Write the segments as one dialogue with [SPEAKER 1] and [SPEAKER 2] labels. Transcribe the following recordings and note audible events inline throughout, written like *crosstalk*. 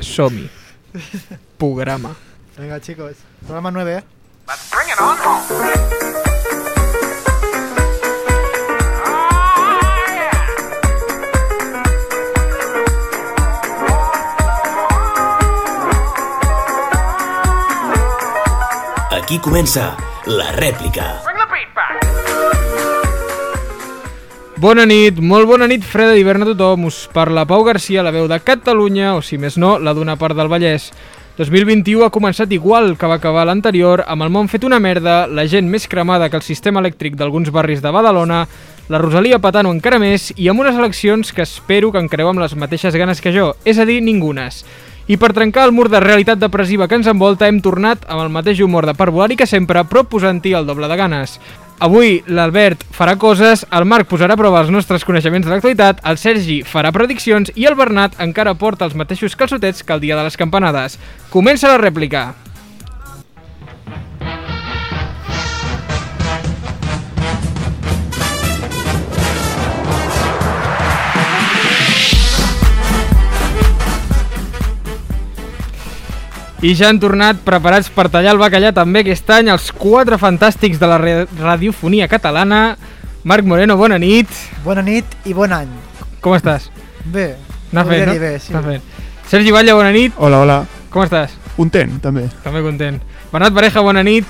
[SPEAKER 1] Somi. Programa.
[SPEAKER 2] Venga, chicos. Programa 9, ¿eh?
[SPEAKER 3] Aquí comença la rèplica.
[SPEAKER 1] Bona nit, molt bona nit, freda d'hivern a tothom. Us parla Pau Garcia, la veu de Catalunya, o si més no, la d'una part del Vallès. 2021 ha començat igual que va acabar l'anterior, amb el món fet una merda, la gent més cremada que el sistema elèctric d'alguns barris de Badalona, la Rosalia petant encara més, i amb unes eleccions que espero que encreu amb les mateixes ganes que jo, és a dir, ningunes. I per trencar el mur de realitat depressiva que ens envolta hem tornat amb el mateix humor de parvulari que sempre, però posant-hi el doble de ganes. Avui l'Albert farà coses, el Marc posarà a prova els nostres coneixements de l'actualitat, el Sergi farà prediccions i el Bernat encara porta els mateixos calçotets que el dia de les campanades. Comença la rèplica! I ja han tornat preparats per tallar el bacallà també aquest any els quatre fantàstics de la re- radiofonia catalana. Marc Moreno, bona nit.
[SPEAKER 2] Bona nit i bon any.
[SPEAKER 1] Com estàs?
[SPEAKER 2] Bé.
[SPEAKER 1] Anar
[SPEAKER 2] podria
[SPEAKER 1] fent, no?
[SPEAKER 2] dir Bé, sí.
[SPEAKER 1] Anar fent. Sergi Batlle, bona nit.
[SPEAKER 4] Hola, hola.
[SPEAKER 1] Com estàs?
[SPEAKER 4] Un ten, també.
[SPEAKER 1] També content. Bernat Pareja, bona nit.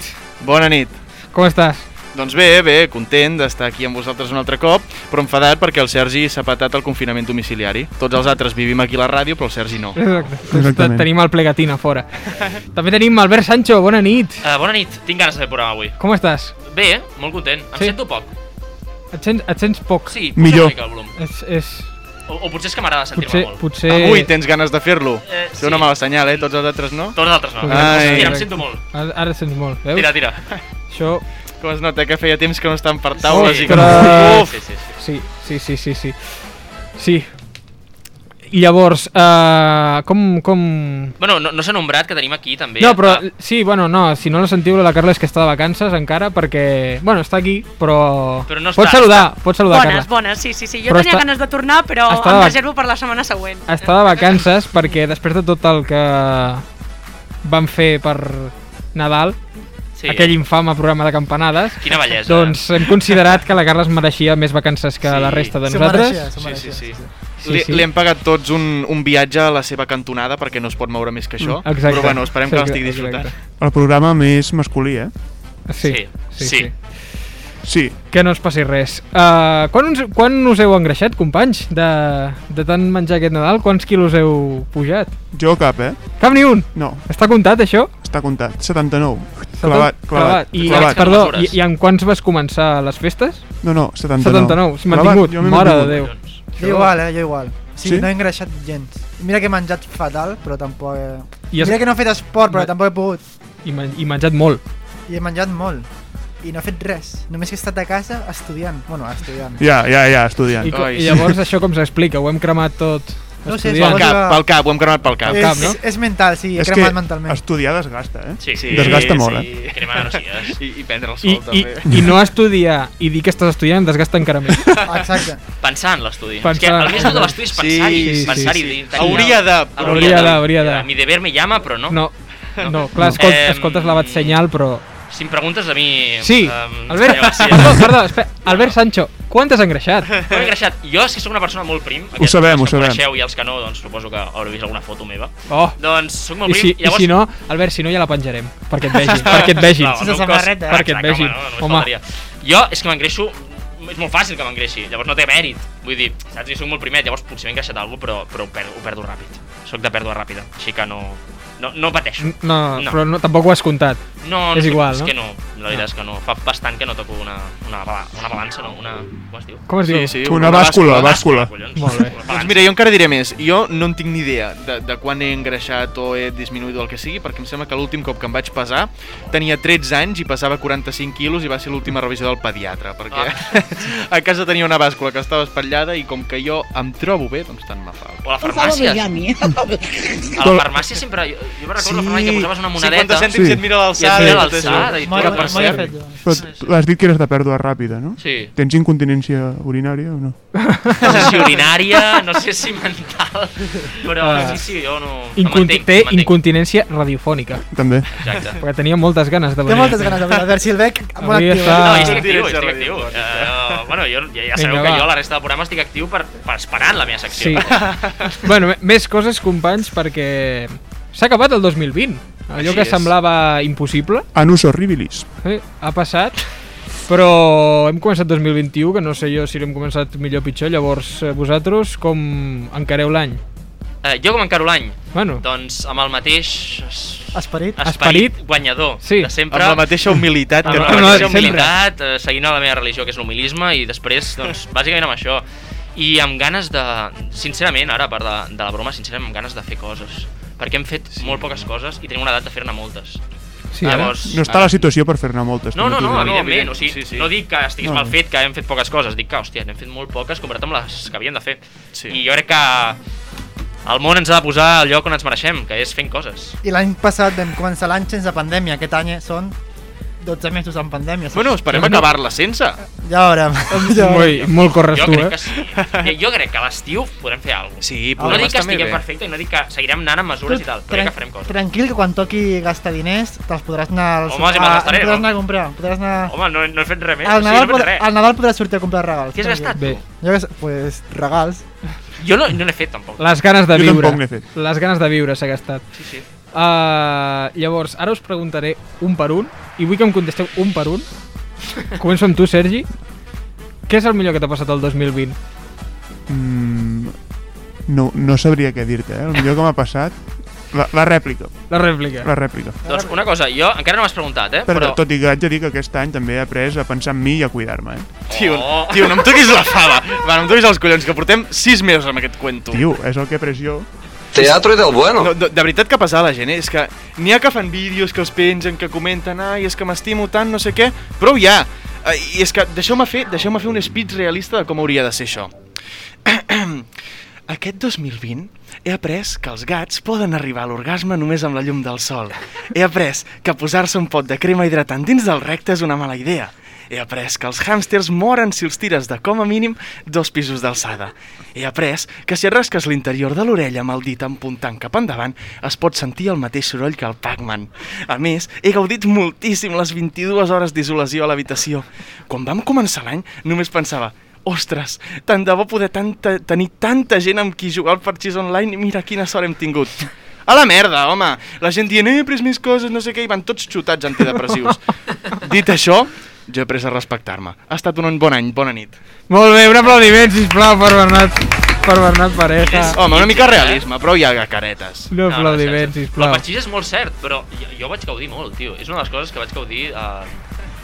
[SPEAKER 5] Bona nit.
[SPEAKER 1] Com estàs?
[SPEAKER 5] Doncs bé, bé, content d'estar aquí amb vosaltres un altre cop, però enfadat perquè el Sergi s'ha patat el confinament domiciliari. Tots els altres vivim aquí a la ràdio, però el Sergi no.
[SPEAKER 1] Exacte. Doncs
[SPEAKER 4] Exactament.
[SPEAKER 1] Tenim el plegatina
[SPEAKER 6] *laughs*
[SPEAKER 1] fora. també tenim Albert Sancho, bona nit.
[SPEAKER 6] Uh, bona nit, tinc ganes de fer programa avui.
[SPEAKER 1] Com estàs?
[SPEAKER 6] Bé, eh? molt content. Em
[SPEAKER 1] Sí?
[SPEAKER 6] sí? sento poc.
[SPEAKER 1] Et sents, et sents poc?
[SPEAKER 6] Sí, puja
[SPEAKER 4] Millor.
[SPEAKER 6] una mica el volum.
[SPEAKER 1] És, és,
[SPEAKER 6] O, o potser és que m'agrada sentir-me
[SPEAKER 1] potser,
[SPEAKER 6] molt.
[SPEAKER 1] potser...
[SPEAKER 5] Avui tens ganes de fer-lo?
[SPEAKER 6] Eh,
[SPEAKER 5] Té una
[SPEAKER 6] sí.
[SPEAKER 5] mala senyal, eh? Tots els altres no?
[SPEAKER 6] Tots els altres no.
[SPEAKER 5] Ai.
[SPEAKER 6] Mira, em sento molt.
[SPEAKER 1] Ara, ara et sents molt, veus?
[SPEAKER 6] Tira, tira.
[SPEAKER 1] Això...
[SPEAKER 5] Com es nota que feia temps que no estan per taules i que...
[SPEAKER 1] Ostres.
[SPEAKER 6] Sí, sí, sí.
[SPEAKER 1] Sí, sí, sí, sí, sí. Sí. I llavors, uh, com, com...
[SPEAKER 6] Bueno, no, no s'ha nombrat que tenim aquí també.
[SPEAKER 1] No, però
[SPEAKER 6] Ah,
[SPEAKER 1] sí, bueno, no, si no la sentiu la Carla és que està de vacances encara perquè, bueno, està aquí, però,
[SPEAKER 6] Però no
[SPEAKER 1] pots
[SPEAKER 6] està,
[SPEAKER 1] saludar, pots saludar
[SPEAKER 7] Bones,
[SPEAKER 1] Carla.
[SPEAKER 7] bones, sí, sí, sí. Jo
[SPEAKER 1] Però
[SPEAKER 7] tenia
[SPEAKER 1] està-
[SPEAKER 7] ganes de tornar, però
[SPEAKER 1] està
[SPEAKER 7] em
[SPEAKER 1] de-
[SPEAKER 7] reservo per la setmana següent.
[SPEAKER 1] Està de vacances perquè després de tot el que van fer per Nadal,
[SPEAKER 6] sí.
[SPEAKER 1] aquell infame programa de campanades,
[SPEAKER 6] Quina bellesa.
[SPEAKER 1] doncs hem considerat que la Carla es mereixia més vacances que
[SPEAKER 6] Sí.
[SPEAKER 1] la resta de
[SPEAKER 2] S'ho mereixia,
[SPEAKER 1] nosaltres.
[SPEAKER 2] s'ho
[SPEAKER 6] Sí,
[SPEAKER 2] mereixia,
[SPEAKER 6] sí, sí.
[SPEAKER 1] Sí,
[SPEAKER 5] Li,
[SPEAKER 1] sí.
[SPEAKER 5] li hem pagat tots un, un viatge a la seva cantonada perquè no es pot moure més que això,
[SPEAKER 1] Mm, Exacte.
[SPEAKER 5] però bueno, esperem que
[SPEAKER 1] Exacte,
[SPEAKER 5] l'estigui disfrutant.
[SPEAKER 1] exacte.
[SPEAKER 4] El programa més masculí, eh?
[SPEAKER 1] Sí,
[SPEAKER 6] Sí,
[SPEAKER 1] sí,
[SPEAKER 6] sí.
[SPEAKER 1] sí.
[SPEAKER 4] Sí.
[SPEAKER 1] Que no us passi res. Uh, quan, us, quan us heu engreixat, companys, de, de tant menjar aquest Nadal? Quants quilos heu pujat?
[SPEAKER 4] Jo cap, eh?
[SPEAKER 1] Cap ni un!
[SPEAKER 4] No,
[SPEAKER 1] Està comptat, això?
[SPEAKER 4] està comptat. 79.
[SPEAKER 1] Està
[SPEAKER 4] Clavat,
[SPEAKER 1] tot
[SPEAKER 4] clavat,
[SPEAKER 1] I,
[SPEAKER 6] clavat.
[SPEAKER 1] Perdó, i,
[SPEAKER 6] Mesures.
[SPEAKER 1] i en quants vas començar les festes?
[SPEAKER 4] No, no, 79.
[SPEAKER 1] 79. Si
[SPEAKER 4] Clavat,
[SPEAKER 1] mantingut,
[SPEAKER 4] jo m'he
[SPEAKER 1] mare de
[SPEAKER 4] mantingut.
[SPEAKER 1] Déu.
[SPEAKER 6] Collons.
[SPEAKER 2] Jo igual, eh? Jo igual. Sí,
[SPEAKER 4] Sí?
[SPEAKER 2] no he engreixat gens. Mira que he menjat fatal, però tampoc...
[SPEAKER 1] I,
[SPEAKER 2] He... Mira
[SPEAKER 1] es,
[SPEAKER 2] que no he fet esport, però
[SPEAKER 1] Ma-
[SPEAKER 2] tampoc he pogut.
[SPEAKER 1] i, men I menjat molt.
[SPEAKER 2] I he menjat molt. I no he fet res. Només que he estat a casa estudiant. Bueno, estudiant.
[SPEAKER 4] Ja, ja, ja, estudiant.
[SPEAKER 1] I, co-
[SPEAKER 5] Ai,
[SPEAKER 1] I llavors això com s'explica? Ho hem cremat tot
[SPEAKER 2] No sé,
[SPEAKER 1] estudiant?
[SPEAKER 5] Pel cap,
[SPEAKER 2] Llavors-
[SPEAKER 5] pel cap, ho hem cremat pel cap.
[SPEAKER 1] Eh, cap,
[SPEAKER 2] és,
[SPEAKER 1] no?
[SPEAKER 2] és, és mental, sí, he
[SPEAKER 4] És
[SPEAKER 2] cremat
[SPEAKER 4] que
[SPEAKER 2] mentalment.
[SPEAKER 4] estudiar desgasta, eh?
[SPEAKER 6] Sí, sí.
[SPEAKER 4] Desgasta
[SPEAKER 6] sí,
[SPEAKER 4] molt,
[SPEAKER 6] sí. eh? Crema gràcies.
[SPEAKER 5] I, I prendre el sol,
[SPEAKER 1] I, i,
[SPEAKER 5] també.
[SPEAKER 1] I no estudiar i dir que estàs estudiant em desgasta encara més.
[SPEAKER 2] Exacte.
[SPEAKER 6] Pensar en l'estudi. És que
[SPEAKER 1] Pensar.
[SPEAKER 6] el més dur de l'estudi és pensar-hi.
[SPEAKER 5] Sí,
[SPEAKER 1] sí,
[SPEAKER 6] pensar-hi.
[SPEAKER 1] sí.
[SPEAKER 6] dir, tenir-
[SPEAKER 5] Hauria de, però...
[SPEAKER 1] Hauria de, hauria de.
[SPEAKER 6] Mi deber me llama, però no.
[SPEAKER 1] No, no, clar, escolt,
[SPEAKER 6] Em,
[SPEAKER 1] escoltes la batsenyal, però...
[SPEAKER 6] Si em preguntes a mi...
[SPEAKER 1] Sí,
[SPEAKER 6] em,
[SPEAKER 1] Albert,
[SPEAKER 6] senyor García,
[SPEAKER 1] perdó, perdó, espera, Albert Sancho, quant t'has engreixat?
[SPEAKER 6] Però he engreixat. Jo és que sóc una persona molt prim.
[SPEAKER 4] Ho sabem, ho
[SPEAKER 6] els que em
[SPEAKER 4] sabem.
[SPEAKER 6] Coneixeu, I els que no, doncs suposo que haureu vist alguna foto meva.
[SPEAKER 1] Oh,
[SPEAKER 6] Doncs sóc molt
[SPEAKER 1] I
[SPEAKER 6] prim.
[SPEAKER 1] si, i si
[SPEAKER 6] *laughs*
[SPEAKER 1] no, Albert, si no ja la penjarem, perquè et vegin, perquè et vegin.
[SPEAKER 6] Clar, el meu
[SPEAKER 2] Sense
[SPEAKER 6] cos-
[SPEAKER 2] samarreta, eh?
[SPEAKER 1] Perquè et
[SPEAKER 6] Exacte,
[SPEAKER 1] vegin.
[SPEAKER 6] Home, no,
[SPEAKER 1] Home.
[SPEAKER 6] home. faltaria. Jo és que m'engreixo és molt fàcil que m'engreixi, llavors no té mèrit. Vull dir, saps? Jo soc molt primet, llavors potser m'he engreixat alguna però, però ho, perdo, ho perdo ràpid. Soc de pèrdua ràpida, així que no, no, no pateixo.
[SPEAKER 1] N- No,
[SPEAKER 6] No.
[SPEAKER 1] però no, tampoc ho has comptat.
[SPEAKER 6] No, no
[SPEAKER 1] Mm, És
[SPEAKER 6] sé,
[SPEAKER 1] igual,
[SPEAKER 6] és
[SPEAKER 1] no? Ah.
[SPEAKER 6] que no, la veritat és que no. Fa bastant que no toco una, una, bala- una balança, no, una... Com es diu?
[SPEAKER 1] Com es diu?
[SPEAKER 4] Una bàscula,
[SPEAKER 5] bàscula.
[SPEAKER 4] bàscula.
[SPEAKER 6] Collons.
[SPEAKER 1] Molt bé.
[SPEAKER 6] Una
[SPEAKER 5] Doncs
[SPEAKER 6] balança.
[SPEAKER 5] mira, jo encara diré més. Jo no en tinc ni idea de, de quan he engreixat o he disminuït o el que sigui, perquè em sembla que l'últim cop que em vaig pesar tenia 13 anys i pesava 45 quilos i va ser l'última revisió del pediatre, perquè
[SPEAKER 6] Ah.
[SPEAKER 5] *laughs* a casa tenia una bàscula que estava espatllada i com que jo em trobo bé, doncs tant me fa.
[SPEAKER 6] O a la farmàcia. *laughs* A la farmàcia sempre... Jo, jo me'n recordo sí. la farmàcia que posaves una
[SPEAKER 5] 50
[SPEAKER 6] monedeta.
[SPEAKER 5] cèntims
[SPEAKER 4] Sí.
[SPEAKER 5] eh? i et mira l'alçada.
[SPEAKER 6] I et mira
[SPEAKER 5] tot això.
[SPEAKER 6] l'alçada i
[SPEAKER 2] Mai, mai
[SPEAKER 6] tot, per
[SPEAKER 2] ho he
[SPEAKER 6] cert.
[SPEAKER 2] fet jo.
[SPEAKER 4] Però t- has dit que eres de pèrdua ràpida, no?
[SPEAKER 5] *laughs*
[SPEAKER 6] Sí.
[SPEAKER 4] Tens incontinència urinària o no?
[SPEAKER 6] No sé si urinària, no sé si mental, però
[SPEAKER 1] Ah.
[SPEAKER 6] sí, sí, jo no... em
[SPEAKER 1] Inconti
[SPEAKER 6] mantenc,
[SPEAKER 1] té
[SPEAKER 6] em mantenc.
[SPEAKER 1] incontinència radiofònica.
[SPEAKER 4] També.
[SPEAKER 6] Exacte.
[SPEAKER 1] Perquè tenia moltes ganes de
[SPEAKER 2] Té
[SPEAKER 1] venir.
[SPEAKER 2] moltes ganes de veure. A veure si el veig molt
[SPEAKER 1] Avui
[SPEAKER 2] actiu. eh?
[SPEAKER 1] està-
[SPEAKER 6] No,
[SPEAKER 1] Ah.
[SPEAKER 6] jo estic actiu, estic
[SPEAKER 5] Directe
[SPEAKER 6] actiu.
[SPEAKER 5] radiofònica.
[SPEAKER 6] Eh, bueno, jo, ja, ja sabeu
[SPEAKER 1] Vinga,
[SPEAKER 6] que
[SPEAKER 1] va.
[SPEAKER 6] jo a la resta del programa estic actiu per, per esperar la meva
[SPEAKER 1] Sí.
[SPEAKER 6] secció. *laughs*
[SPEAKER 1] bueno, me- més coses, companys, perquè s'ha acabat el 2020. Allò
[SPEAKER 6] Així
[SPEAKER 1] que
[SPEAKER 6] és.
[SPEAKER 1] semblava impossible
[SPEAKER 4] Anus horribilis.
[SPEAKER 1] eh, ha passat, però hem començat 2021, que no sé jo si l'hem començat millor o pitjor. Llavors, eh, vosaltres com encareu l'any?
[SPEAKER 6] Eh, jo com encaro l'any,
[SPEAKER 1] Bueno,
[SPEAKER 6] doncs amb el mateix es-
[SPEAKER 2] Esperit.
[SPEAKER 1] Esperit.
[SPEAKER 6] esperit guanyador
[SPEAKER 1] Sí.
[SPEAKER 6] de
[SPEAKER 5] Amb
[SPEAKER 6] sempre.
[SPEAKER 5] la mateixa humilitat
[SPEAKER 6] amb
[SPEAKER 5] que
[SPEAKER 6] la
[SPEAKER 1] Ah, no,
[SPEAKER 6] mateixa
[SPEAKER 1] sempre.
[SPEAKER 6] humilitat, eh, seguint a la meva religió, que és l'humilisme,
[SPEAKER 1] *laughs*
[SPEAKER 6] i després, doncs, bàsicament amb això. I amb ganes de... Sincerament, ara, a part de, de la broma, sincerament, amb ganes de fer coses. Perquè hem fet molt poques coses i tenim una edat de fer-ne moltes. Doncs, eh,
[SPEAKER 1] sí, ara.
[SPEAKER 4] No està la situació per fer-ne moltes.
[SPEAKER 6] No, no, no,
[SPEAKER 5] no,
[SPEAKER 6] evidentment.
[SPEAKER 5] evident.
[SPEAKER 6] O sigui,
[SPEAKER 5] Sí, sí.
[SPEAKER 6] no dic que estiguis
[SPEAKER 4] No.
[SPEAKER 6] mal fet, que hem fet poques coses. Dic que, hòstia, n'hem fet molt poques comparat amb les que havíem de fer.
[SPEAKER 5] Sí.
[SPEAKER 6] I jo crec que el món ens ha de posar al lloc on ens mereixem, que és fent coses.
[SPEAKER 2] I l'any passat vam començar l'any sense pandèmia. Aquest any són 12 mesos en pandèmia. saps?
[SPEAKER 5] Bueno, esperem
[SPEAKER 1] Bueno.
[SPEAKER 5] acabar-la sense.
[SPEAKER 2] Ja *laughs* veurem. Ja veurem.
[SPEAKER 1] Ui, molt corres
[SPEAKER 6] jo
[SPEAKER 1] tu,
[SPEAKER 6] crec
[SPEAKER 1] eh?
[SPEAKER 6] que sí. Jo- Jo crec que a l'estiu podrem fer alguna cosa.
[SPEAKER 5] Sí,
[SPEAKER 6] no
[SPEAKER 5] podem
[SPEAKER 6] dic que
[SPEAKER 5] estar
[SPEAKER 6] estiguem
[SPEAKER 5] bé.
[SPEAKER 6] perfecte i no dic que seguirem anant amb mesures i tal, però crec que farem coses.
[SPEAKER 2] Tranquil, que quan toqui gastar diners, te'ls podràs anar... Als,
[SPEAKER 6] Home, si me'ls gastaré,
[SPEAKER 2] podràs
[SPEAKER 6] no?
[SPEAKER 2] anar a comprar. Podràs anar...
[SPEAKER 6] Home, no, no he fet res més.
[SPEAKER 2] al,
[SPEAKER 6] o sigui,
[SPEAKER 2] Nadal
[SPEAKER 6] no he fet
[SPEAKER 2] podrà-
[SPEAKER 6] res.
[SPEAKER 2] al Nadal podràs sortir a comprar regals.
[SPEAKER 6] Què has
[SPEAKER 2] tranquil.
[SPEAKER 6] gastat?
[SPEAKER 1] Bé,
[SPEAKER 2] Jo què sé, pues, regals.
[SPEAKER 6] Jo no, no n'he fet tampoc.
[SPEAKER 1] les ganes de
[SPEAKER 4] Jo
[SPEAKER 1] viure.
[SPEAKER 4] tampoc n'he fet.
[SPEAKER 1] Les ganes de viure s'ha gastat.
[SPEAKER 6] Sí, sí.
[SPEAKER 1] Uh, llavors, ara us preguntaré un per un i vull que em contesteu un per un. Començo amb tu, Sergi. Què és el millor que t'ha passat el 2020?
[SPEAKER 4] Mm, no, no sabria què dir-te, eh? El millor que m'ha passat... La, la rèplica,
[SPEAKER 1] La rèplica.
[SPEAKER 4] la rèplica.
[SPEAKER 6] Doncs una cosa, jo encara no m'has preguntat, eh?
[SPEAKER 4] Però, tot i que haig de dir que aquest any també he après a pensar en mi i a cuidar-me, eh?
[SPEAKER 5] Tio,
[SPEAKER 6] Oh.
[SPEAKER 5] tio, no em toquis la fava. Va, no em toquis els collons, que portem 6 mesos amb aquest cuento.
[SPEAKER 4] Tio, és el que he après jo.
[SPEAKER 7] Teatro del bueno.
[SPEAKER 5] No, de, de veritat que pesar la gent, eh? és que n'hi ha que fan vídeos, que els pengen, que comenten, ai, és que m'estimo tant, no sé què, prou ja! Eh, I és que deixeu-me fer, deixeu fer un speech realista de com hauria de ser això. *clears throat* Eh, Aquest 2020 he après que els gats poden arribar a l'orgasme només amb la llum del sol. He après que posar-se un pot de crema hidratant dins del recte és una mala idea. He après que els hàmsters moren si els tires de com a mínim dos pisos d'alçada. He après que si et rasques l'interior de l'orella amb el dit empuntant cap endavant es pot sentir el mateix soroll que el Pac-Man. A més, he gaudit moltíssim les 22 hores d'isolació a l'habitació. Quan vam començar l'any només pensava Ostres, tant de bo poder tanta, tenir tanta gent amb qui jugar al parxís online i mira quina sort hem tingut. A la merda, home! La gent dient, eh, he pres més coses, no sé què, i van tots xutats *laughs* antidepressius. Dit això, jo he après a respectar-me. Ha estat un bon any, bona nit.
[SPEAKER 1] Molt bé, un aplaudiment, sisplau, per Bernat, per Bernat Pareja.
[SPEAKER 6] És-
[SPEAKER 5] Home, una mica realisme, però hi ha caretes.
[SPEAKER 1] Un aplaudiment, sisplau.
[SPEAKER 6] El patxís és molt cert, però jo, jo vaig gaudir molt, tio. És una de les coses que vaig gaudir eh,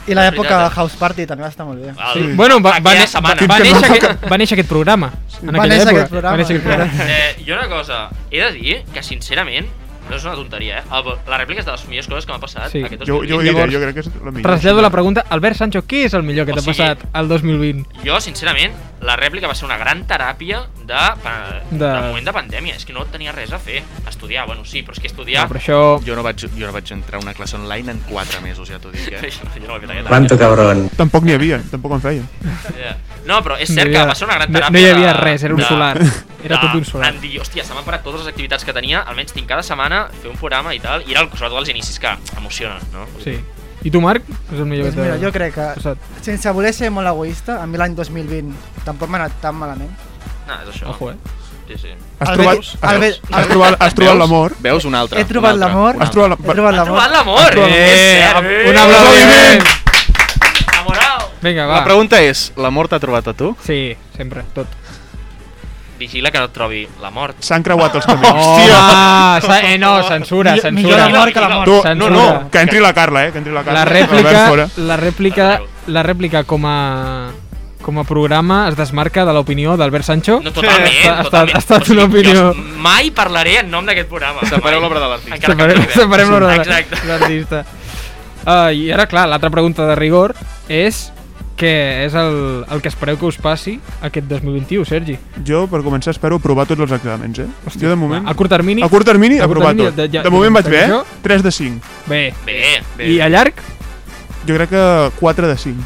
[SPEAKER 2] I l'època
[SPEAKER 6] veritat, eh?
[SPEAKER 2] House Party també va estar molt bé.
[SPEAKER 6] al...
[SPEAKER 4] Sí.
[SPEAKER 1] Bueno, va, va,
[SPEAKER 6] Aquella
[SPEAKER 1] ne- va,
[SPEAKER 6] setmana.
[SPEAKER 1] va,
[SPEAKER 4] Fins que
[SPEAKER 1] néixer
[SPEAKER 4] no-
[SPEAKER 1] aquest, va néixer aquest programa. En
[SPEAKER 2] Va
[SPEAKER 1] aquella
[SPEAKER 2] néixer
[SPEAKER 1] època.
[SPEAKER 2] aquest programa.
[SPEAKER 1] Va néixer aquest programa.
[SPEAKER 6] Eh, jo una cosa, he de dir que sincerament, no és una tonteria, eh? El, la rèplica és de les millors coses que m'ha passat
[SPEAKER 1] Sí.
[SPEAKER 6] sí. aquest 2020.
[SPEAKER 4] Jo, jo ho diré, jo crec que és la millor.
[SPEAKER 1] Trasllado la pregunta. Albert Sancho, què és el millor que
[SPEAKER 6] O
[SPEAKER 1] t'ha
[SPEAKER 6] sigui-
[SPEAKER 1] passat el 2020?
[SPEAKER 6] Jo, sincerament, la rèplica va ser una gran teràpia de, de...
[SPEAKER 1] De-
[SPEAKER 6] del moment de pandèmia. És que no tenia res a fer. Estudiar, bueno, sí, però és que estudiar...
[SPEAKER 1] No, però això...
[SPEAKER 5] Jo no vaig, jo no vaig entrar a una classe online en 4 mesos, ja t'ho dic, eh?
[SPEAKER 6] *laughs* Això, jo no ho he fet aquest any.
[SPEAKER 7] Quanto cabrón.
[SPEAKER 4] Tampoc n'hi havia, tampoc en feien.
[SPEAKER 6] Ja. No, però és
[SPEAKER 1] no hi
[SPEAKER 6] cert
[SPEAKER 1] havia-
[SPEAKER 6] que va ser una gran
[SPEAKER 1] no-
[SPEAKER 6] teràpia
[SPEAKER 1] No hi havia
[SPEAKER 6] de-
[SPEAKER 1] res, era un
[SPEAKER 6] de-
[SPEAKER 1] solar. Era
[SPEAKER 6] de-
[SPEAKER 1] tot un solar.
[SPEAKER 6] En dir, hòstia, se m'han parat totes les activitats que tenia, almenys tinc cada setmana, fer un programa i tal, i era el, sobretot els inicis que emocionen, no? Vull
[SPEAKER 1] Sí.
[SPEAKER 6] dir,
[SPEAKER 1] I tu, Marc? Què És el millor
[SPEAKER 2] Doncs mira,
[SPEAKER 1] que
[SPEAKER 2] jo crec que,
[SPEAKER 1] passat.
[SPEAKER 2] sense voler ser molt egoista, a mi l'any 2020 tampoc m'ha anat tan malament.
[SPEAKER 6] No, és això.
[SPEAKER 1] Ojo, eh?
[SPEAKER 6] Sí, sí.
[SPEAKER 4] Has
[SPEAKER 2] El
[SPEAKER 4] trobat,
[SPEAKER 2] Betis- el
[SPEAKER 4] has,
[SPEAKER 2] Betis-
[SPEAKER 4] has trobat, has trobat
[SPEAKER 5] Veus?
[SPEAKER 4] l'amor.
[SPEAKER 5] Veus? Un altre.
[SPEAKER 2] He trobat
[SPEAKER 5] un altre,
[SPEAKER 2] l'amor.
[SPEAKER 5] un
[SPEAKER 4] Has
[SPEAKER 5] altre.
[SPEAKER 4] trobat
[SPEAKER 2] He
[SPEAKER 4] l'amor.
[SPEAKER 2] trobat
[SPEAKER 6] Ha trobat
[SPEAKER 2] l'amor.
[SPEAKER 6] l'amor!
[SPEAKER 1] Eh, un aplaudiment!
[SPEAKER 6] Enamorado!
[SPEAKER 1] Vinga,
[SPEAKER 5] La
[SPEAKER 1] va.
[SPEAKER 5] pregunta és, l'amor t'ha trobat a tu?
[SPEAKER 1] Sí, sempre, tot.
[SPEAKER 6] Vigila que no et trobi la mort.
[SPEAKER 4] S'han creuat els camins.
[SPEAKER 1] Oh, Hòstia! eh, no, censura,
[SPEAKER 2] Millor- millor
[SPEAKER 1] censura.
[SPEAKER 2] l'amor que la mort.
[SPEAKER 4] Tu, no,
[SPEAKER 1] Censura.
[SPEAKER 4] no, que entri la Carla, eh? Que entri la Carla.
[SPEAKER 1] La
[SPEAKER 4] Albert
[SPEAKER 1] rèplica,
[SPEAKER 4] fora.
[SPEAKER 1] la rèplica, la rèplica com a com a programa es desmarca de l'opinió d'Albert Sancho.
[SPEAKER 6] No, totalment,
[SPEAKER 1] Ha estat-
[SPEAKER 6] totalment.
[SPEAKER 1] ha estat una
[SPEAKER 6] O sigui,
[SPEAKER 1] opinió.
[SPEAKER 6] jo mai parlaré en nom d'aquest programa.
[SPEAKER 5] Separeu
[SPEAKER 6] Mai.
[SPEAKER 5] l'obra de l'artista.
[SPEAKER 6] Encara que
[SPEAKER 1] Separem,
[SPEAKER 6] em toqui.
[SPEAKER 1] separem l'hora de-
[SPEAKER 6] Exacte.
[SPEAKER 1] l'artista. Uh, I ara, clar, l'altra pregunta de rigor és què és el, el que espereu que us passi aquest 2021, Sergi?
[SPEAKER 4] Jo, per començar, espero aprovar tots els exàmens, eh? Hòstia, jo, de moment...
[SPEAKER 1] A curt termini?
[SPEAKER 4] A curt termini,
[SPEAKER 1] A curt
[SPEAKER 4] aprovar
[SPEAKER 1] termini,
[SPEAKER 4] tot.
[SPEAKER 1] ja- ja-
[SPEAKER 4] de moment vaig bé,
[SPEAKER 1] això?
[SPEAKER 4] eh? 3 de 5.
[SPEAKER 1] Bé.
[SPEAKER 6] Bé,
[SPEAKER 1] I a llarg?
[SPEAKER 4] Jo crec que 4
[SPEAKER 1] *laughs*
[SPEAKER 4] de 5.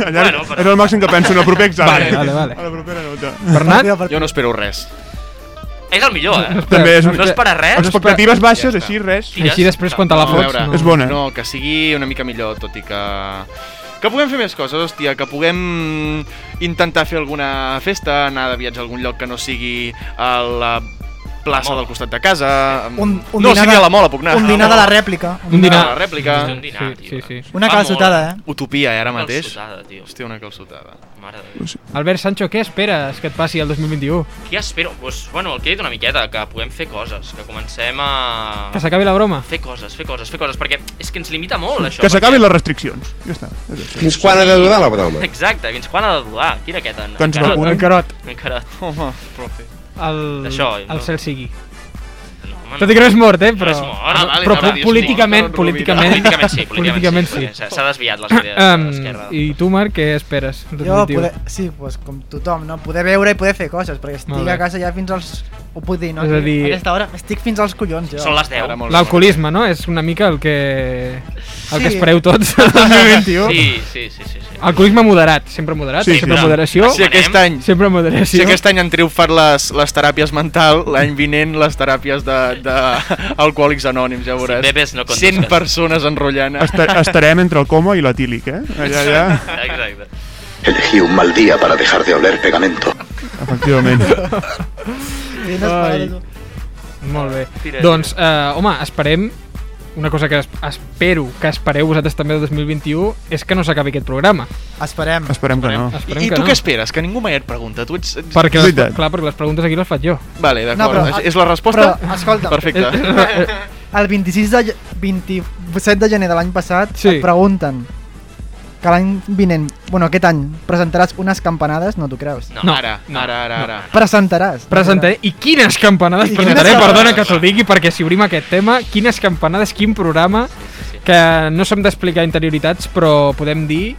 [SPEAKER 4] Allà
[SPEAKER 6] Bueno, però-
[SPEAKER 4] era el màxim que penso, en el proper examen.
[SPEAKER 1] Vale, vale, vale.
[SPEAKER 4] A la propera nota.
[SPEAKER 1] Bernat?
[SPEAKER 5] Jo no espero res.
[SPEAKER 6] És el millor,
[SPEAKER 5] *laughs*
[SPEAKER 6] eh?
[SPEAKER 4] També és...
[SPEAKER 6] No
[SPEAKER 1] Espera.
[SPEAKER 6] és per a res.
[SPEAKER 4] Expectatives baixes,
[SPEAKER 5] Ja està.
[SPEAKER 4] així, res.
[SPEAKER 6] Tires-
[SPEAKER 1] Així després quan te la
[SPEAKER 5] A
[SPEAKER 1] fots.
[SPEAKER 5] veure,
[SPEAKER 1] no.
[SPEAKER 4] És bona.
[SPEAKER 5] No, que sigui una mica millor, tot i que... Que puguem fer més coses, hòstia, que puguem intentar fer alguna festa, anar de viatge a algun lloc que no sigui a la plaça
[SPEAKER 6] Mola.
[SPEAKER 5] del costat de casa...
[SPEAKER 2] Un- un
[SPEAKER 5] no,
[SPEAKER 2] dinar
[SPEAKER 5] sigui
[SPEAKER 2] de-
[SPEAKER 5] a la mola, puc anar.
[SPEAKER 2] Un dinar de la rèplica.
[SPEAKER 1] Un dinar.
[SPEAKER 5] A la rèplica.
[SPEAKER 6] Un dinar,
[SPEAKER 1] Sí,
[SPEAKER 6] tio.
[SPEAKER 1] sí, sí.
[SPEAKER 2] Una
[SPEAKER 6] Fa
[SPEAKER 2] calçotada,
[SPEAKER 6] Ah, molt.
[SPEAKER 2] eh?
[SPEAKER 5] Utopia, eh, ara
[SPEAKER 6] Una
[SPEAKER 5] mateix.
[SPEAKER 6] calçotada, tio.
[SPEAKER 5] Hòstia, una calçotada.
[SPEAKER 6] Mare de Déu.
[SPEAKER 1] Albert Sancho, què esperes que et passi el 2021?
[SPEAKER 6] Què espero? Pues, bueno, el que he dit una miqueta, que puguem fer coses, que comencem a...
[SPEAKER 1] Que s'acabi la broma?
[SPEAKER 6] Fer coses, fer coses, fer coses, perquè és que ens limita molt, això.
[SPEAKER 4] Que s'acabin
[SPEAKER 6] perquè-
[SPEAKER 4] les restriccions. Ja està. és això.
[SPEAKER 7] Fins quan ha de durar la broma?
[SPEAKER 6] Exacte, fins quan ha de dudar? Tira aquest en...
[SPEAKER 4] Que
[SPEAKER 1] Doncs
[SPEAKER 4] ens
[SPEAKER 6] encara-
[SPEAKER 4] vacunin.
[SPEAKER 1] El carot.
[SPEAKER 6] Encara...
[SPEAKER 5] Home, profe.
[SPEAKER 1] El,
[SPEAKER 6] Això,
[SPEAKER 1] el
[SPEAKER 6] no.
[SPEAKER 1] cel sigui.
[SPEAKER 6] No, home,
[SPEAKER 1] Tot i que no és mort, eh?
[SPEAKER 6] No
[SPEAKER 1] Però,
[SPEAKER 6] és mort. Ah, vale,
[SPEAKER 1] però
[SPEAKER 6] no,
[SPEAKER 1] po-
[SPEAKER 6] dius,
[SPEAKER 1] políticament,
[SPEAKER 5] mort, no, no,
[SPEAKER 1] políticament,
[SPEAKER 6] Políticament sí, políticament, sí.
[SPEAKER 1] políticament sí.
[SPEAKER 6] perquè S'ha desviat les idees de
[SPEAKER 1] Em,
[SPEAKER 6] l'esquerra.
[SPEAKER 1] I tu, Marc, què esperes? el
[SPEAKER 2] Jo
[SPEAKER 1] 2021?
[SPEAKER 2] poder, sí, pues, com tothom, no? poder veure i poder fer coses,
[SPEAKER 1] Molt
[SPEAKER 2] perquè estic
[SPEAKER 1] bé.
[SPEAKER 2] a casa ja fins als... Ho puc dir, no?
[SPEAKER 1] És a dir-
[SPEAKER 2] A aquesta hora estic fins als collons, jo.
[SPEAKER 6] Són les 10.
[SPEAKER 5] Ara molt
[SPEAKER 1] L'alcoholisme, no? És una mica el que, el que
[SPEAKER 2] Sí.
[SPEAKER 1] espereu tots el 2021.
[SPEAKER 6] Sí, sí, sí, sí. sí.
[SPEAKER 1] Alcoholisme moderat, sempre moderat,
[SPEAKER 4] Sí,
[SPEAKER 1] sempre
[SPEAKER 4] clar.
[SPEAKER 1] moderació,
[SPEAKER 5] Si aquest
[SPEAKER 6] Demanem-
[SPEAKER 5] any...
[SPEAKER 1] sempre moderació.
[SPEAKER 5] Si aquest any han triomfat les, les teràpies mental, l'any vinent les teràpies d'alcohòlics anònims, ja ho veuràs.
[SPEAKER 6] Si bebes, no conduzcas.
[SPEAKER 5] 100 persones enrotllant.
[SPEAKER 4] Esta- Estarem entre el coma i l'atílic, eh? Allà, allà,
[SPEAKER 6] Exacte.
[SPEAKER 8] Elegí un mal día para dejar de oler pegamento.
[SPEAKER 4] efectivament.
[SPEAKER 2] Quines parades.
[SPEAKER 1] Molt bé.
[SPEAKER 6] Tira,
[SPEAKER 1] doncs, eh, home, esperem una cosa que es- espero que espereu vosaltres també el 2021 és que no s'acabi aquest programa.
[SPEAKER 2] Esperem.
[SPEAKER 4] Esperem que no.
[SPEAKER 1] Esperem
[SPEAKER 5] I, I
[SPEAKER 1] que
[SPEAKER 5] tu
[SPEAKER 1] no.
[SPEAKER 5] què esperes? Que ningú mai et pregunta. Tu ets... ets...
[SPEAKER 1] Perquè les,
[SPEAKER 4] Veritat.
[SPEAKER 1] clar, perquè les preguntes aquí les faig jo. Eh,
[SPEAKER 5] Vale,
[SPEAKER 2] No,
[SPEAKER 5] d'acord.
[SPEAKER 2] però-
[SPEAKER 5] és, és la
[SPEAKER 2] però,
[SPEAKER 5] resposta?
[SPEAKER 2] Eh, escolta.
[SPEAKER 5] Perfecte.
[SPEAKER 2] El 26 de... ge- 27 de gener de l'any passat
[SPEAKER 1] Sí.
[SPEAKER 2] et pregunten que l'any vinent, bueno, aquest any, presentaràs unes campanades, no t'ho creus.
[SPEAKER 6] No,
[SPEAKER 1] No.
[SPEAKER 5] Ara, ara, ara, ara.
[SPEAKER 2] Presentaràs. no
[SPEAKER 1] Presentaré, i quines campanades
[SPEAKER 2] I quines
[SPEAKER 1] presentaré,
[SPEAKER 2] campanades.
[SPEAKER 1] perdona que t'ho digui, perquè si obrim aquest tema, quines campanades, quin programa, que no som d'explicar interioritats, però podem dir